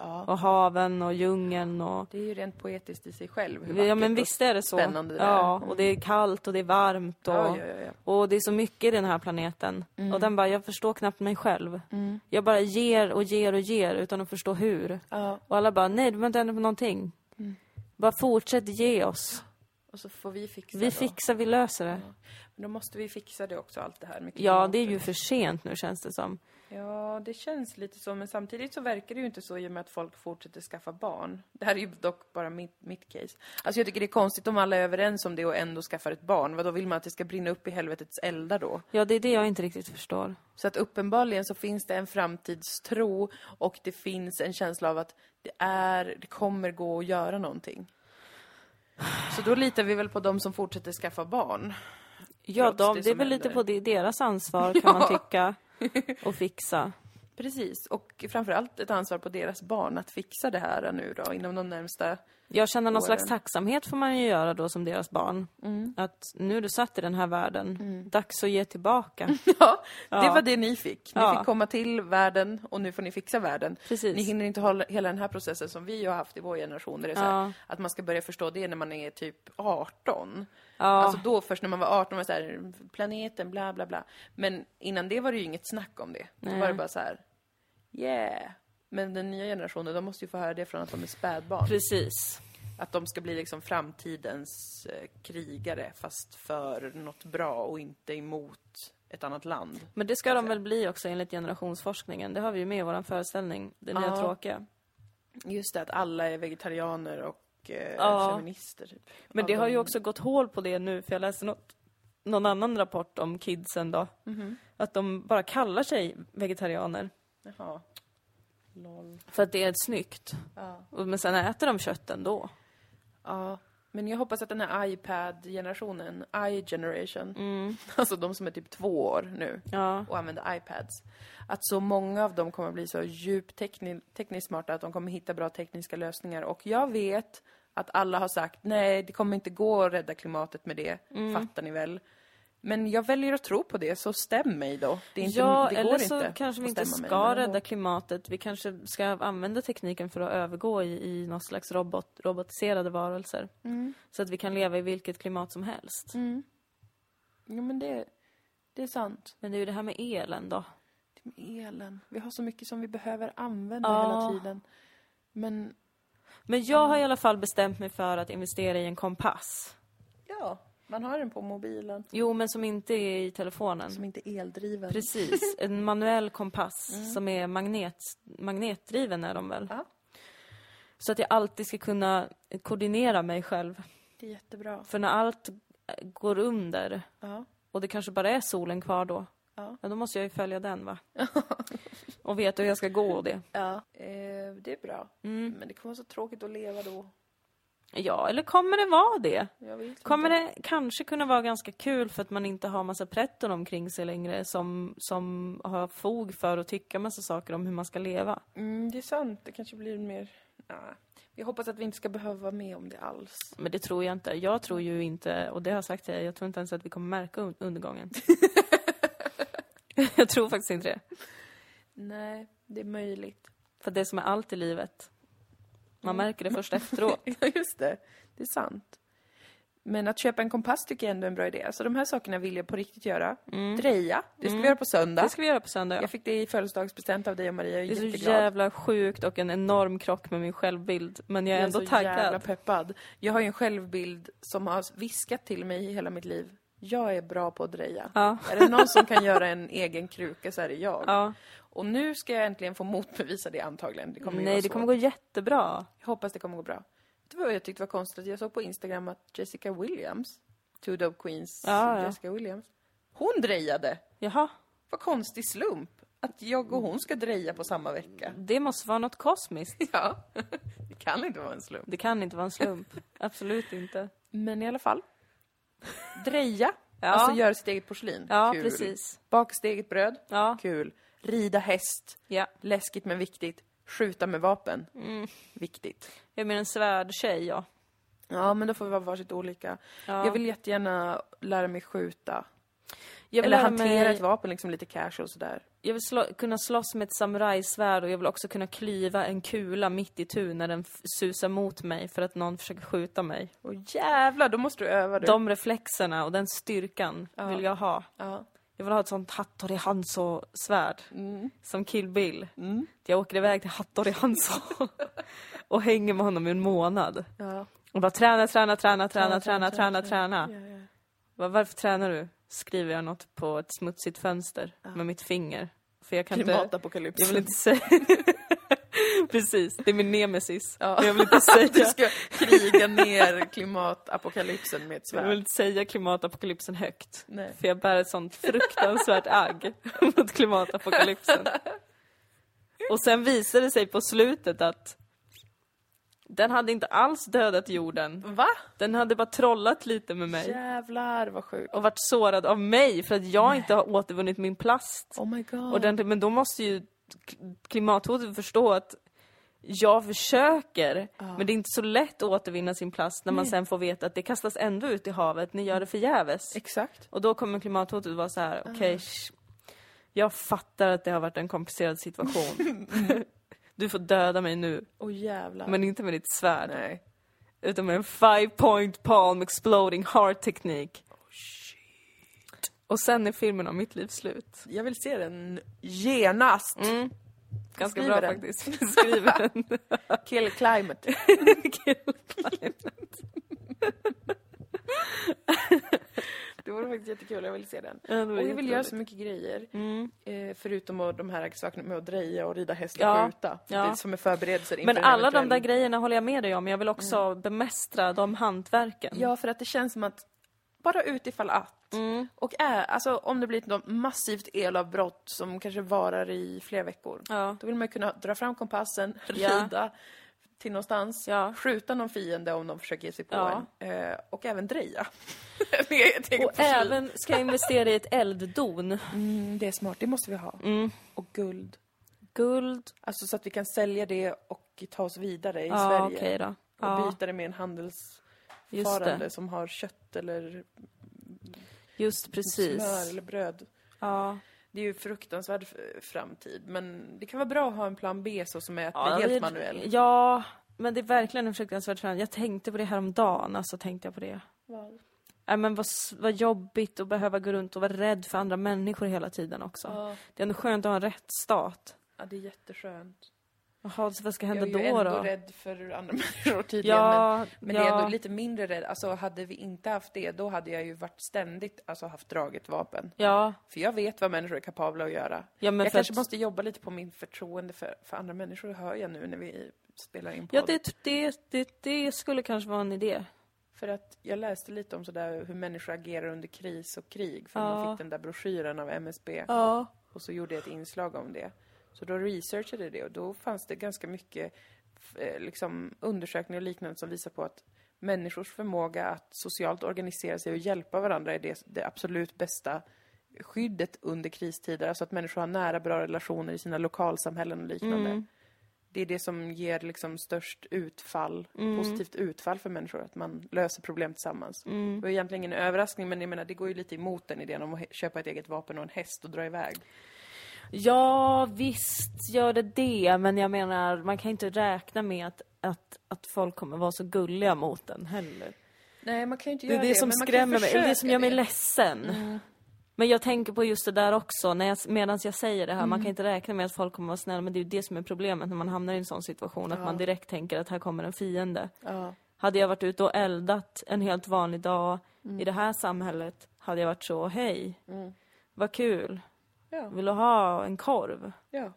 S1: Ja,
S2: Och haven och djungeln och
S1: det är ju rent poetiskt i sig själv. hur
S2: Ja
S1: vackert
S2: men
S1: och
S2: visst är det så.
S1: spännande det
S2: ja,
S1: är.
S2: och det är kallt och det är varmt och,
S1: Ja, ja, ja, Mm. ja.
S2: och det är så mycket i den här planeten. Och den bara, jag förstår knappt mig själv.
S1: Mm.
S2: Jag bara ger och ger och ger utan att förstå hur.
S1: Ja, Mm.
S2: Och alla bara, nej du behöver inte ändra på någonting. Bara fortsätt ge oss.
S1: och så får vi fixa
S2: Vi
S1: då.
S2: fixar, vi löser det.
S1: Men då måste vi fixa det också, allt det här med
S2: Ja,
S1: klimatet.
S2: det är ju för sent nu känns det som.
S1: Ja, det känns lite så, men samtidigt så verkar det ju inte så i och med att folk fortsätter skaffa barn. Det här är ju dock bara mitt, mitt case. Alltså jag tycker det är konstigt om alla är överens om det och ändå skaffar ett barn. Vad då vill man att det ska brinna upp i helvetets eldar då?
S2: Ja, det är det jag inte riktigt förstår.
S1: Så att uppenbarligen så finns det en framtidstro och det finns en känsla av att det är, det kommer gå att göra någonting. Så då litar vi väl på de som fortsätter skaffa barn.
S2: Ja,
S1: Trots
S2: de,
S1: det
S2: det är
S1: som
S2: väl lite
S1: händer.
S2: på det, deras ansvar kan man tycka. Och fixa.
S1: Precis, och framförallt ett ansvar på deras barn att fixa det här nu då inom de närmsta
S2: Jag känner någon slags
S1: åren. Mm.
S2: tacksamhet får man ju göra då som deras barn. Att nu är du satt i den här världen, dags att ge tillbaka.
S1: Ja, det
S2: Ja.
S1: var det ni fick. Ni
S2: Ja.
S1: fick komma till världen och nu får ni fixa världen.
S2: Precis.
S1: Ni hinner inte hålla hela den här processen som vi har haft i vår generation. Där det är så här,
S2: Ja.
S1: Att man ska börja förstå det när man är typ 18.
S2: Ja.
S1: Alltså då först när man var 18 var det så här, planeten, bla bla bla. Men innan det var det ju inget snack om det. Då
S2: Nej.
S1: var det bara så här, yeah. Men den nya generationen, de måste ju få höra det från att de är spädbarn.
S2: Precis.
S1: Att de ska bli liksom framtidens eh, krigare, fast för något bra och inte emot ett annat land.
S2: Men det ska de väl bli också enligt generationsforskningen. Det har vi ju med i vår föreställning, Det nya
S1: Ja.
S2: tråkiga.
S1: Just det, att alla är vegetarianer och eh,
S2: Ja.
S1: feminister. Typ.
S2: Men
S1: Av
S2: det har
S1: de-
S2: ju också gått hål på det nu, för jag läste något, någon annan rapport om kidsen då.
S1: Mhm.
S2: Att de bara kallar sig vegetarianer.
S1: Jaha. Lol.
S2: För att det är snyggt.
S1: Ja.
S2: Och- Men sen äter de kött ändå.
S1: ja. Men jag hoppas att den här iPad-generationen, i-generation, alltså de som är typ två år nu
S2: Mm. Ja.
S1: och använder iPads, att så många av dem kommer bli så djupt tekni- tekniskt smarta att de kommer hitta bra tekniska lösningar. Och jag vet att alla har sagt nej, det kommer inte gå att rädda klimatet med det,
S2: Mm.
S1: fattar ni väl? Men jag väljer att tro på det, så stäm mig då. Det är inte,
S2: ja,
S1: det går
S2: eller så
S1: inte
S2: kanske vi
S1: att
S2: inte
S1: stämma mig,
S2: ska
S1: men ändå.
S2: rädda klimatet. Vi kanske ska använda tekniken för att övergå i, i någon slags robot, robotiserade varelser.
S1: Mm.
S2: Så att vi kan leva i vilket klimat som helst.
S1: Jo, men det, det är sant.
S2: Men det är ju det här med elen då.
S1: Det med elen. Vi har så mycket som vi behöver använda
S2: Ja.
S1: hela tiden. Men,
S2: Men jag har i alla fall bestämt mig för att investera i en kompass.
S1: ja, man har den på mobilen.
S2: Jo, men som inte är i telefonen.
S1: Som inte är eldriven.
S2: Precis, en manuell kompass som är magnet, magnetdriven är de väl?
S1: Mm. Ja.
S2: Så att jag alltid ska kunna koordinera mig själv.
S1: Det är jättebra.
S2: För när allt eh, går under
S1: Ja.
S2: och det kanske bara är solen kvar då,
S1: Ja.
S2: då måste jag ju följa den va? och veta hur jag ska gå och det.
S1: ja. Eh, det är bra. Men det kommer vara så tråkigt att leva då.
S2: Ja, eller kommer det vara det?
S1: Jag vet
S2: Kommer
S1: inte.
S2: det kanske kunna vara ganska kul för att man inte har massa pretton omkring sig längre som, som har fog för att tycka massa saker om hur man ska leva?
S1: Mm, det är sant. Det kanske blir mer... Nah. Jag hoppas att vi inte ska behöva vara med om det alls.
S2: Men det tror jag inte. Jag tror ju inte, och det har jag sagt till er, jag tror inte ens att vi kommer märka un- undergången. jag tror faktiskt inte det.
S1: Nej, det är möjligt.
S2: För det som är allt i livet, man
S1: Mm.
S2: märker det först efteråt.
S1: Ja, just det. Det är sant. Men att köpa en kompass tycker jag ändå är en bra idé. Så de här sakerna vill jag på riktigt göra. Dreja, Mm. det ska vi göra på söndag.
S2: Det ska vi göra på söndag. Ja.
S1: Jag fick det i födelsedagspresent av dig och Maria. Jag är,
S2: Det är så
S1: jätteglad.
S2: jävla sjukt och en enorm krock med min självbild. Men jag är ändå
S1: så jävla
S2: taggad.
S1: peppad. Jag har ju en självbild som har viskat till mig i hela mitt liv. Jag är bra på att dreja.
S2: Ja.
S1: Är det någon som kan göra en egen kruka så är det jag.
S2: Ja.
S1: Och nu ska jag äntligen få motbevisa det antagligen. Det kommer ju vara
S2: Nej, det
S1: svårt.
S2: kommer gå jättebra.
S1: Jag hoppas det kommer gå bra. Det var vad jag tyckte var konstigt. Jag såg på Instagram att Jessica Williams, Two Dope Queens
S2: Ja, ja.
S1: Jessica Williams, hon drejade.
S2: Jaha,
S1: Vad konstig slump. Att jag och hon ska dreja på samma vecka.
S2: det måste vara något kosmiskt.
S1: Ja, det kan inte vara en slump.
S2: Det kan inte vara en slump. Absolut inte.
S1: Men i alla fall. Dreja.
S2: Ja.
S1: Alltså göra sitt eget porslin.
S2: Ja,
S1: Kul.
S2: precis.
S1: Baka sitt eget bröd.
S2: Ja.
S1: Kul. Rida häst.
S2: Ja.
S1: Läskigt men viktigt. Skjuta med vapen.
S2: Mm.
S1: Viktigt.
S2: Jag är mer en svärdtjej, ja.
S1: Ja, men då får vi vara varsitt olika.
S2: Ja.
S1: Jag vill jättegärna lära mig skjuta.
S2: Jag vill
S1: Eller
S2: lära
S1: hantera
S2: mig-
S1: ett vapen liksom lite casual sådär.
S2: Jag vill slå, kunna slåss med ett samurajsvärd och jag vill också kunna klyva en kula mitt i tu när den f- susar mot mig för att någon försöker skjuta mig.
S1: Och jävlar, då måste du öva du.
S2: De reflexerna och den styrkan vill jag ha.
S1: Ja.
S2: Jag vill ha ett sånt Hattori Hanzo-svärd. Som Kill Bill. Att Jag åker iväg till Hattori Hanzo och hänger med honom i en månad.
S1: Ja.
S2: Och bara träna, träna, träna,
S1: träna,
S2: träna, träna,
S1: träna,
S2: träna, träna. Va- Varför tränar du? Skriver jag något på ett smutsigt fönster med mitt finger. För jag kan inte...
S1: Klimatapokalypsen.
S2: Jag vill inte säga... Precis, det är min nemesis.
S1: Ja.
S2: Jag vill inte säga...
S1: Du ska kriga ner klimatapokalypsen med ett
S2: Jag vill
S1: svärd.
S2: inte säga klimatapokalypsen högt.
S1: Nej.
S2: För jag bär ett sånt fruktansvärt agg mot klimatapokalypsen. Och sen visade det sig på slutet att den hade inte alls dödat jorden.
S1: Va?
S2: Den hade bara trollat lite med mig.
S1: Jävlar vad sjukt.
S2: Och varit sårad av mig för att jag inte har återvunnit min plast.
S1: Oh my god.
S2: Och den, men då måste ju k- klimathotet förstå att jag försöker, men det är inte så lätt att återvinna sin plast när man sen får veta att det kastas ändå ut i havet, ni gör det förgäves.
S1: Exakt.
S2: Och då kommer klimathotet vara så här, okej, sh- jag fattar att det har varit en komplicerad situation.
S1: Mm.
S2: du får döda mig nu,
S1: Åh jävlar.
S2: men inte med ditt svärd,
S1: nej.
S2: utan med en five point palm exploding heart teknik.
S1: Oh,
S2: Och sen är filmen om mitt liv slut.
S1: Jag vill se den genast.
S2: Mm. Ganska
S1: Skriver
S2: bra
S1: den.
S2: faktiskt. Skriver den.
S1: Kill climate.
S2: Kul.
S1: Det vore faktiskt jättekul, jag vill se den.
S2: Ja, det var
S1: Och jag vill göra
S2: jätteroligt. Mm.
S1: så mycket grejer. Eh, förutom att, de här sakerna med att dreja och rida häst och
S2: Ja.
S1: skjuta.
S2: Ja.
S1: Det är som är förberedelser inför
S2: Men
S1: en
S2: alla de
S1: eventuell-
S2: där grejerna håller jag med dig om, jag vill också bemästra de hantverken.
S1: Ja, för att det känns som att bara ut ifall att.
S2: Mm.
S1: Och är, alltså om det blir ett något massivt elavbrott som kanske varar i flera veckor.
S2: Ja.
S1: Då vill man ju kunna dra fram kompassen,
S2: Ja.
S1: rida till någonstans,
S2: Ja.
S1: skjuta någon fiende om de försöker ge sig på
S2: Ja.
S1: en. Eh, och även dreja. Med ett eget
S2: Och
S1: porslin.
S2: även ska jag investera i ett elddon.
S1: Mm, det är smart, det måste vi ha.
S2: Mm.
S1: Och guld.
S2: Guld.
S1: Alltså så att vi kan sälja det och ta oss vidare i
S2: Ja,
S1: Sverige.
S2: okej då.
S1: Och
S2: Ja,
S1: byta det med en
S2: Just det.
S1: handelsfarande som har kött eller
S2: just precis.
S1: smör eller bröd.
S2: Ja,
S1: Det är ju fruktansvärd f- framtid, men det kan vara bra att ha en plan B så som är att
S2: ja
S1: bli helt
S2: det-
S1: manuell.
S2: Ja, men det är verkligen en fruktansvärd förändring. Jag tänkte på det här om dagen, alltså tänkte jag på det. Nej men vad, s- vad jobbigt att behöva gå runt och vara rädd för andra människor hela tiden också.
S1: Ja.
S2: Det är ändå skönt att ha en rättsstat.
S1: Ja, det är jätteskönt.
S2: Jaha, så vad ska hända
S1: Jag är ju
S2: då
S1: ändå
S2: då?
S1: rädd för andra människor tydligen,
S2: Ja,
S1: men, men
S2: ja.
S1: det är ändå lite mindre rädd. Alltså hade vi inte haft det, då hade jag ju varit ständigt, alltså haft draget vapen.
S2: Ja,
S1: För jag vet vad människor är kapabla att göra.
S2: Ja, men
S1: jag
S2: för
S1: kanske
S2: att-
S1: måste jobba lite på min förtroende för, för andra människor, hör jag nu när vi spelar in
S2: ja
S1: podd.
S2: det, det, det, det skulle kanske vara en idé.
S1: För att jag läste lite om sådär hur människor agerar under kris och krig, för
S2: Ja.
S1: man fick den där broschyren av MSB.
S2: Ja.
S1: Och så gjorde jag ett inslag om det. Så då researchade jag det och då fanns det ganska mycket f- eh, liksom, undersökningar och liknande som visar på att människors förmåga att socialt organisera sig och hjälpa varandra är det, det absolut bästa skyddet under kristider. Alltså att människor har nära, bra relationer i sina lokalsamhällen och liknande. Det är det som ger liksom störst utfall, positivt utfall för människor, att man löser problem tillsammans. Det var egentligen ingen överraskning, men jag menar, det går ju lite emot den idén om att he- köpa ett eget vapen och en häst och dra iväg.
S2: Ja, visst gör det det, men jag menar, man kan inte räkna med att, att, att folk kommer vara så gulliga mot den heller.
S1: Nej, man kan ju inte
S2: Det är
S1: göra
S2: det,
S1: det.
S2: som
S1: men man kan
S2: skrämmer mig, det är det
S1: försöka
S2: som gör mig
S1: det. Mm.
S2: ledsen. Men jag tänker på just det där också, när jag, medan jag säger det här, man kan
S1: Mm.
S2: inte räkna med att folk kommer vara snälla, men det är ju det som är problemet när man hamnar i en sån situation, att man direkt tänker att här kommer en fiende.
S1: Ja.
S2: Hade jag varit ute och eldat en helt vanlig dag
S1: Mm.
S2: i det här samhället, hade jag varit så, hej, vad kul,
S1: Ja.
S2: vill du ha en korv?
S1: ja.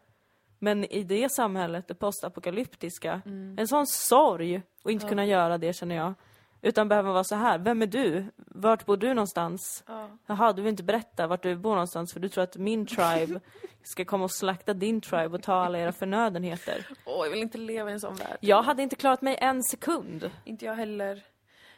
S2: Men i det samhället, det postapokalyptiska,
S1: Mm.
S2: en sån sorg att inte kunna göra det känner jag. Utan behöva vara så här, vem är du? Vart bor du någonstans? Jaha, du vill inte berätta vart du bor någonstans för du tror att min tribe ska komma och slakta din tribe och ta alla era förnödenheter.
S1: Åh, jag vill inte leva i en sån värld.
S2: Jag hade inte klarat mig en sekund.
S1: Inte jag heller.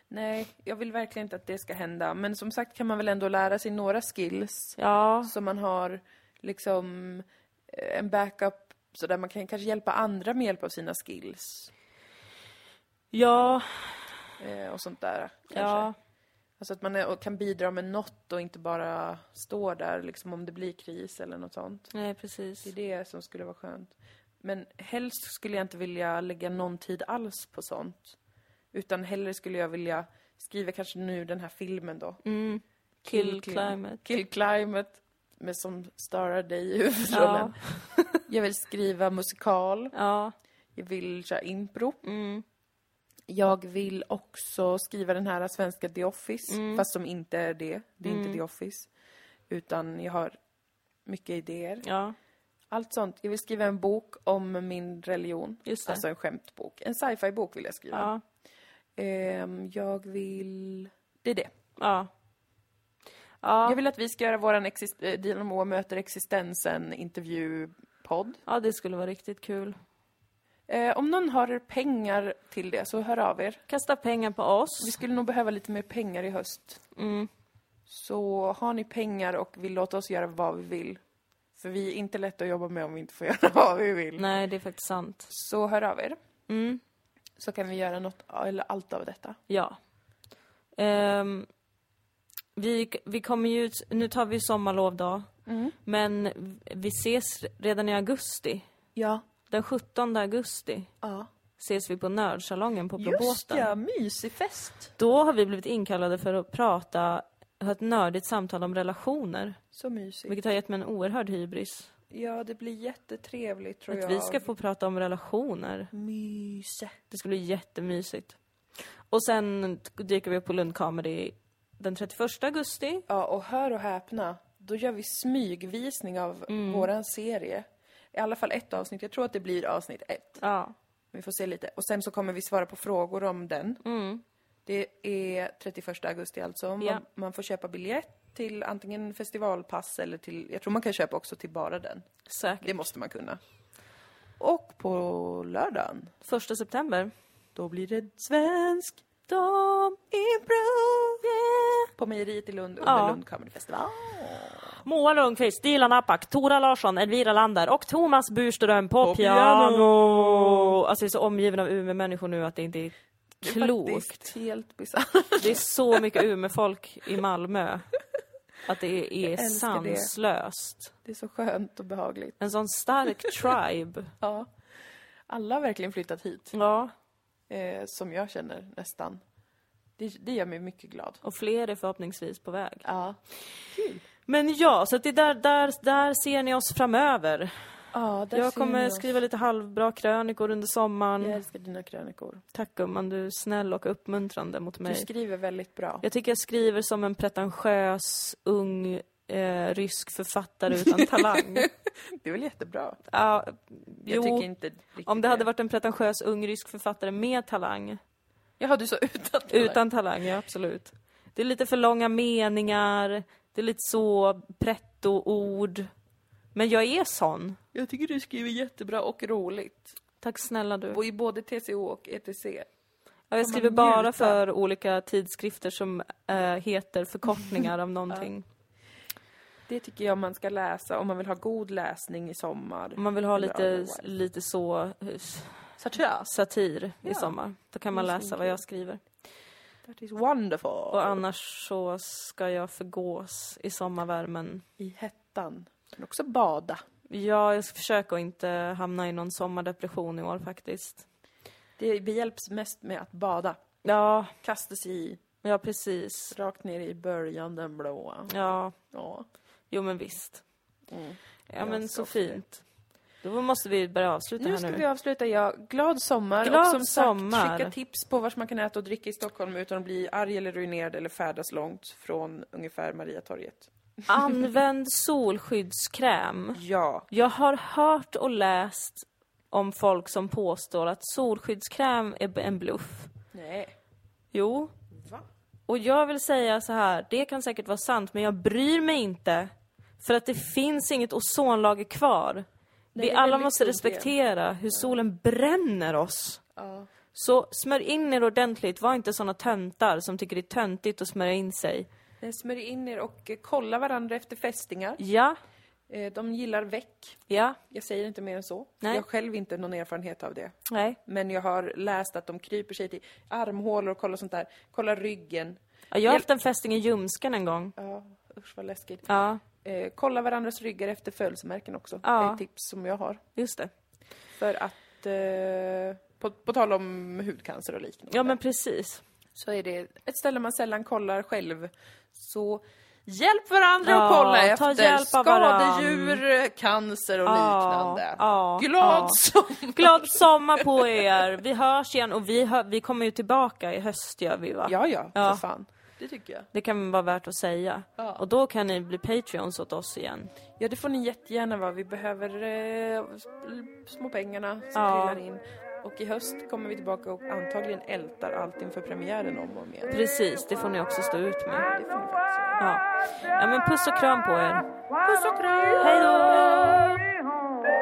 S1: Nej, jag vill verkligen inte att det ska hända. Men som sagt kan man väl ändå lära sig några skills.
S2: Ja,
S1: Så man har liksom eh, en backup så där man kan kanske hjälpa andra med hjälp av sina skills.
S2: ja,
S1: Eh, och sånt där kanske.
S2: ja.
S1: Alltså att man är, och kan bidra med något och inte bara stå där liksom om det blir kris eller något sånt.
S2: Nej, precis.
S1: Det är det som skulle vara skönt. Men helst skulle jag inte vilja lägga någon tid alls på sånt. Utan hellre skulle jag vilja skriva kanske nu den här filmen då.
S2: Mm, Kill climate.
S1: Kill Climate. Med som starar dig i huvudrollen. jag vill skriva musikal.
S2: Ja,
S1: Jag vill köra impro.
S2: Mm.
S1: Jag vill också skriva den här svenska The Office,
S2: Mm.
S1: fast som inte är det. Det är inte The Office. Utan jag har mycket idéer.
S2: ja,
S1: Allt sånt. Jag vill skriva en bok om min religion.
S2: Just det.
S1: alltså en skämtbok. En sci-fi-bok vill jag skriva.
S2: ja,
S1: Ehm, jag vill... Det är det.
S2: ja.
S1: Jag
S2: Ja,
S1: vill att vi ska göra våran exist- eh, Dynamo möter existensen intervjupodd.
S2: ja, det skulle vara riktigt kul.
S1: Eh, om någon har pengar till det så hör av er.
S2: Kasta pengar på oss.
S1: Vi skulle nog behöva lite mer pengar i
S2: Mm.
S1: höst. Så har ni pengar och vill låta oss göra vad vi vill För vi är inte lätta att jobba med om vi inte får göra vad vi vill.
S2: Nej, det är faktiskt sant.
S1: Så hör av er.
S2: Mm,
S1: Så kan vi göra något, eller allt av detta.
S2: ja. Ehm, vi, vi kommer ju ut, nu tar vi sommarlov då.
S4: Mm.
S2: Men vi ses redan i augusti.
S1: Ja.
S2: Den 17 augusti
S1: ja.
S2: ses vi på Nördsalongen på
S4: Just
S2: Blåbåten.
S4: ja, mysig fest.
S2: Då har vi blivit inkallade för att prata, ha ett nördigt samtal om relationer.
S4: Så mysigt.
S2: Vilket har gett mig en oerhörd hybris.
S4: Ja, det blir jättetrevligt tror jag.
S2: Att vi ska få prata om relationer.
S4: myse.
S2: Det skulle bli jättemysigt. Och sen dyker vi upp på Lund Comedy den 31 augusti.
S1: Ja, och hör och häpna, då gör vi smygvisning av
S2: Mm.
S1: våran serie. I alla fall ett avsnitt. Jag tror att det blir avsnitt ett.
S2: Ja.
S1: Vi får se lite. Och sen så kommer vi svara på frågor om den. Det är 31 augusti alltså. Man,
S2: Mm. Ja.
S1: man får köpa biljett till antingen festivalpass eller till, jag tror man kan köpa också till bara den.
S2: Säkert.
S1: Det måste man kunna. Och på lördagen,
S2: Första september.
S1: då blir det svensk
S2: Dom
S1: impro
S2: yeah.
S1: på mejeriet i Lund under
S2: Ja.
S1: Lund Comedy Festival.
S2: Moa Lundqvist, Dilan Apak, Tora Larsson, Elvira Lander och Thomas Burström på,
S1: På
S2: piano.
S1: piano.
S2: Alltså jag är så omgiven av Umeå-människor nu att det inte är klokt.
S1: Faktiskt helt bisarrt.
S2: Det är så mycket Umeå-folk i Malmö. Att det är
S1: älskar det.
S2: sanslöst.
S1: Det är så skönt och behagligt.
S2: En sån stark tribe.
S1: Ja. Alla har verkligen flyttat hit,
S2: Ja,
S1: eh, som jag känner nästan. Det, det gör mig mycket glad.
S2: och fler är förhoppningsvis på väg.
S1: Ja.
S2: Men ja, så att det är där, där, där ser ni oss framöver.
S1: Ja, där
S2: jag
S1: ser ni
S2: kommer
S1: oss.
S2: skriva lite halvbra krönikor under sommaren.
S1: Jag älskar dina krönikor.
S2: Tack gumman, du är snäll och uppmuntrande mot
S1: Du
S2: mig.
S1: skriver väldigt bra.
S2: Jag tycker jag skriver som en pretentiös, ung, eh, rysk författare utan talang.
S1: Det är väl jättebra?
S2: Ja,
S1: Jag
S2: jo,
S1: tycker inte riktigt
S2: om det hade varit en pretentiös, ung, rysk författare med talang.
S1: Jaha, du sa utan
S2: Utan talang, ja absolut. Det är lite för långa meningar, det är lite så pretto-ord. Men jag är sån.
S1: Jag tycker du skriver jättebra och roligt.
S2: Tack snälla du.
S1: Och i både TCO och E ETC.
S2: Ja, Jag skriver bara för olika tidskrifter som eh, heter förkortningar av någonting.
S1: Det tycker jag man ska läsa om man vill ha god läsning i sommar.
S2: Om man vill ha
S1: Eller
S2: lite,
S1: otherwise.
S2: lite så eh,
S1: Sartös.
S2: satir i sommar, då kan man
S1: Det är
S2: läsa vad
S1: fint.
S2: jag skriver.
S1: That is wonderful.
S2: Och annars så ska jag förgås i sommarvärmen.
S1: I hettan. Kan också bada.
S2: Ja, jag ska försöka att inte hamna i någon sommardepression i år faktiskt.
S1: Det behjälps mest med att bada.
S2: Ja,
S1: Kasta sig i,
S2: Ja, precis.
S1: rakt ner i början, den blåa.
S2: Ja,
S1: Ja.
S2: jo men visst.
S1: Mm.
S2: Ja,
S1: Jag
S2: men
S1: ska
S2: så
S1: också det.
S2: fint. Då måste vi börja avsluta
S1: Nu
S2: här
S1: ska
S2: nu.
S1: vi avsluta, ja. Glad sommar.
S2: Glad
S1: och som
S2: sommar.
S1: sagt, skicka tips på vad man kan äta och dricka i Stockholm utan att bli arg eller ruinerad eller färdas långt från ungefär Mariatorget.
S2: Använd solskyddskräm.
S1: Ja.
S2: Jag har hört och läst om folk som påstår att solskyddskräm är en bluff.
S1: Nej.
S2: Jo,
S1: Va?
S2: och jag vill säga så här, det kan säkert vara sant, men jag bryr mig inte. För att det finns inget ozonlager kvar.
S1: det
S2: vi
S1: är
S2: alla
S1: väldigt
S2: måste
S1: god
S2: respektera hur solen bränner oss.
S1: Ja.
S2: Så smörj in er ordentligt, var inte såna töntar som tycker det är töntigt att smörja in sig.
S1: Eh, Smörj in er och eh, kolla varandra efter fästingar.
S2: Ja,
S1: Eh, De gillar väck.
S2: ja,
S1: Jag säger inte mer än så.
S2: Nej.
S1: Jag har själv inte någon erfarenhet av det.
S2: nej.
S1: Men jag har läst att de kryper sig till armhålor och kollar sånt där. Kolla ryggen.
S2: Ja, Jag har haft en fästing i ljumsken en gång.
S1: Ja, usch vad läskigt.
S2: Ja,
S1: Eh, kolla varandras ryggar efter födelsemärken också.
S2: Ja.
S1: Det är ett tips som jag har.
S2: just det.
S1: För att, eh, på, på tal om hudcancer och liknande,
S2: Ja men precis.
S1: så är det ett ställe man sällan kollar själv. Så hjälp varandra
S2: Ja,
S1: att kolla
S2: ta
S1: efter
S2: hjälp av varann.
S1: skadedjur, cancer och
S2: Ja,
S1: liknande.
S2: ja,
S1: Glad
S2: ja.
S1: sommar!
S2: Glad sommar på er! Vi hörs igen och vi, hör, vi kommer ju tillbaka i höst gör vi va?
S1: Ja, ja,
S2: Ja.
S1: för fan. Det tycker jag.
S2: Det kan vara värt att säga.
S1: Ja.
S2: Och då kan ni bli patreons åt oss igen.
S1: Ja, det får ni jättegärna vara. Vi behöver eh, sp- små pengarna som
S2: Ja.
S1: trillar in. Och i höst kommer vi tillbaka och antagligen ältar allt inför premiären om och om igen.
S2: Precis, det får ni också stå ut med.
S1: Det får ni faktiskt göra.
S2: Ja, ja men puss och kram på er.
S1: Puss och kram!
S2: Hej då!
S3: home.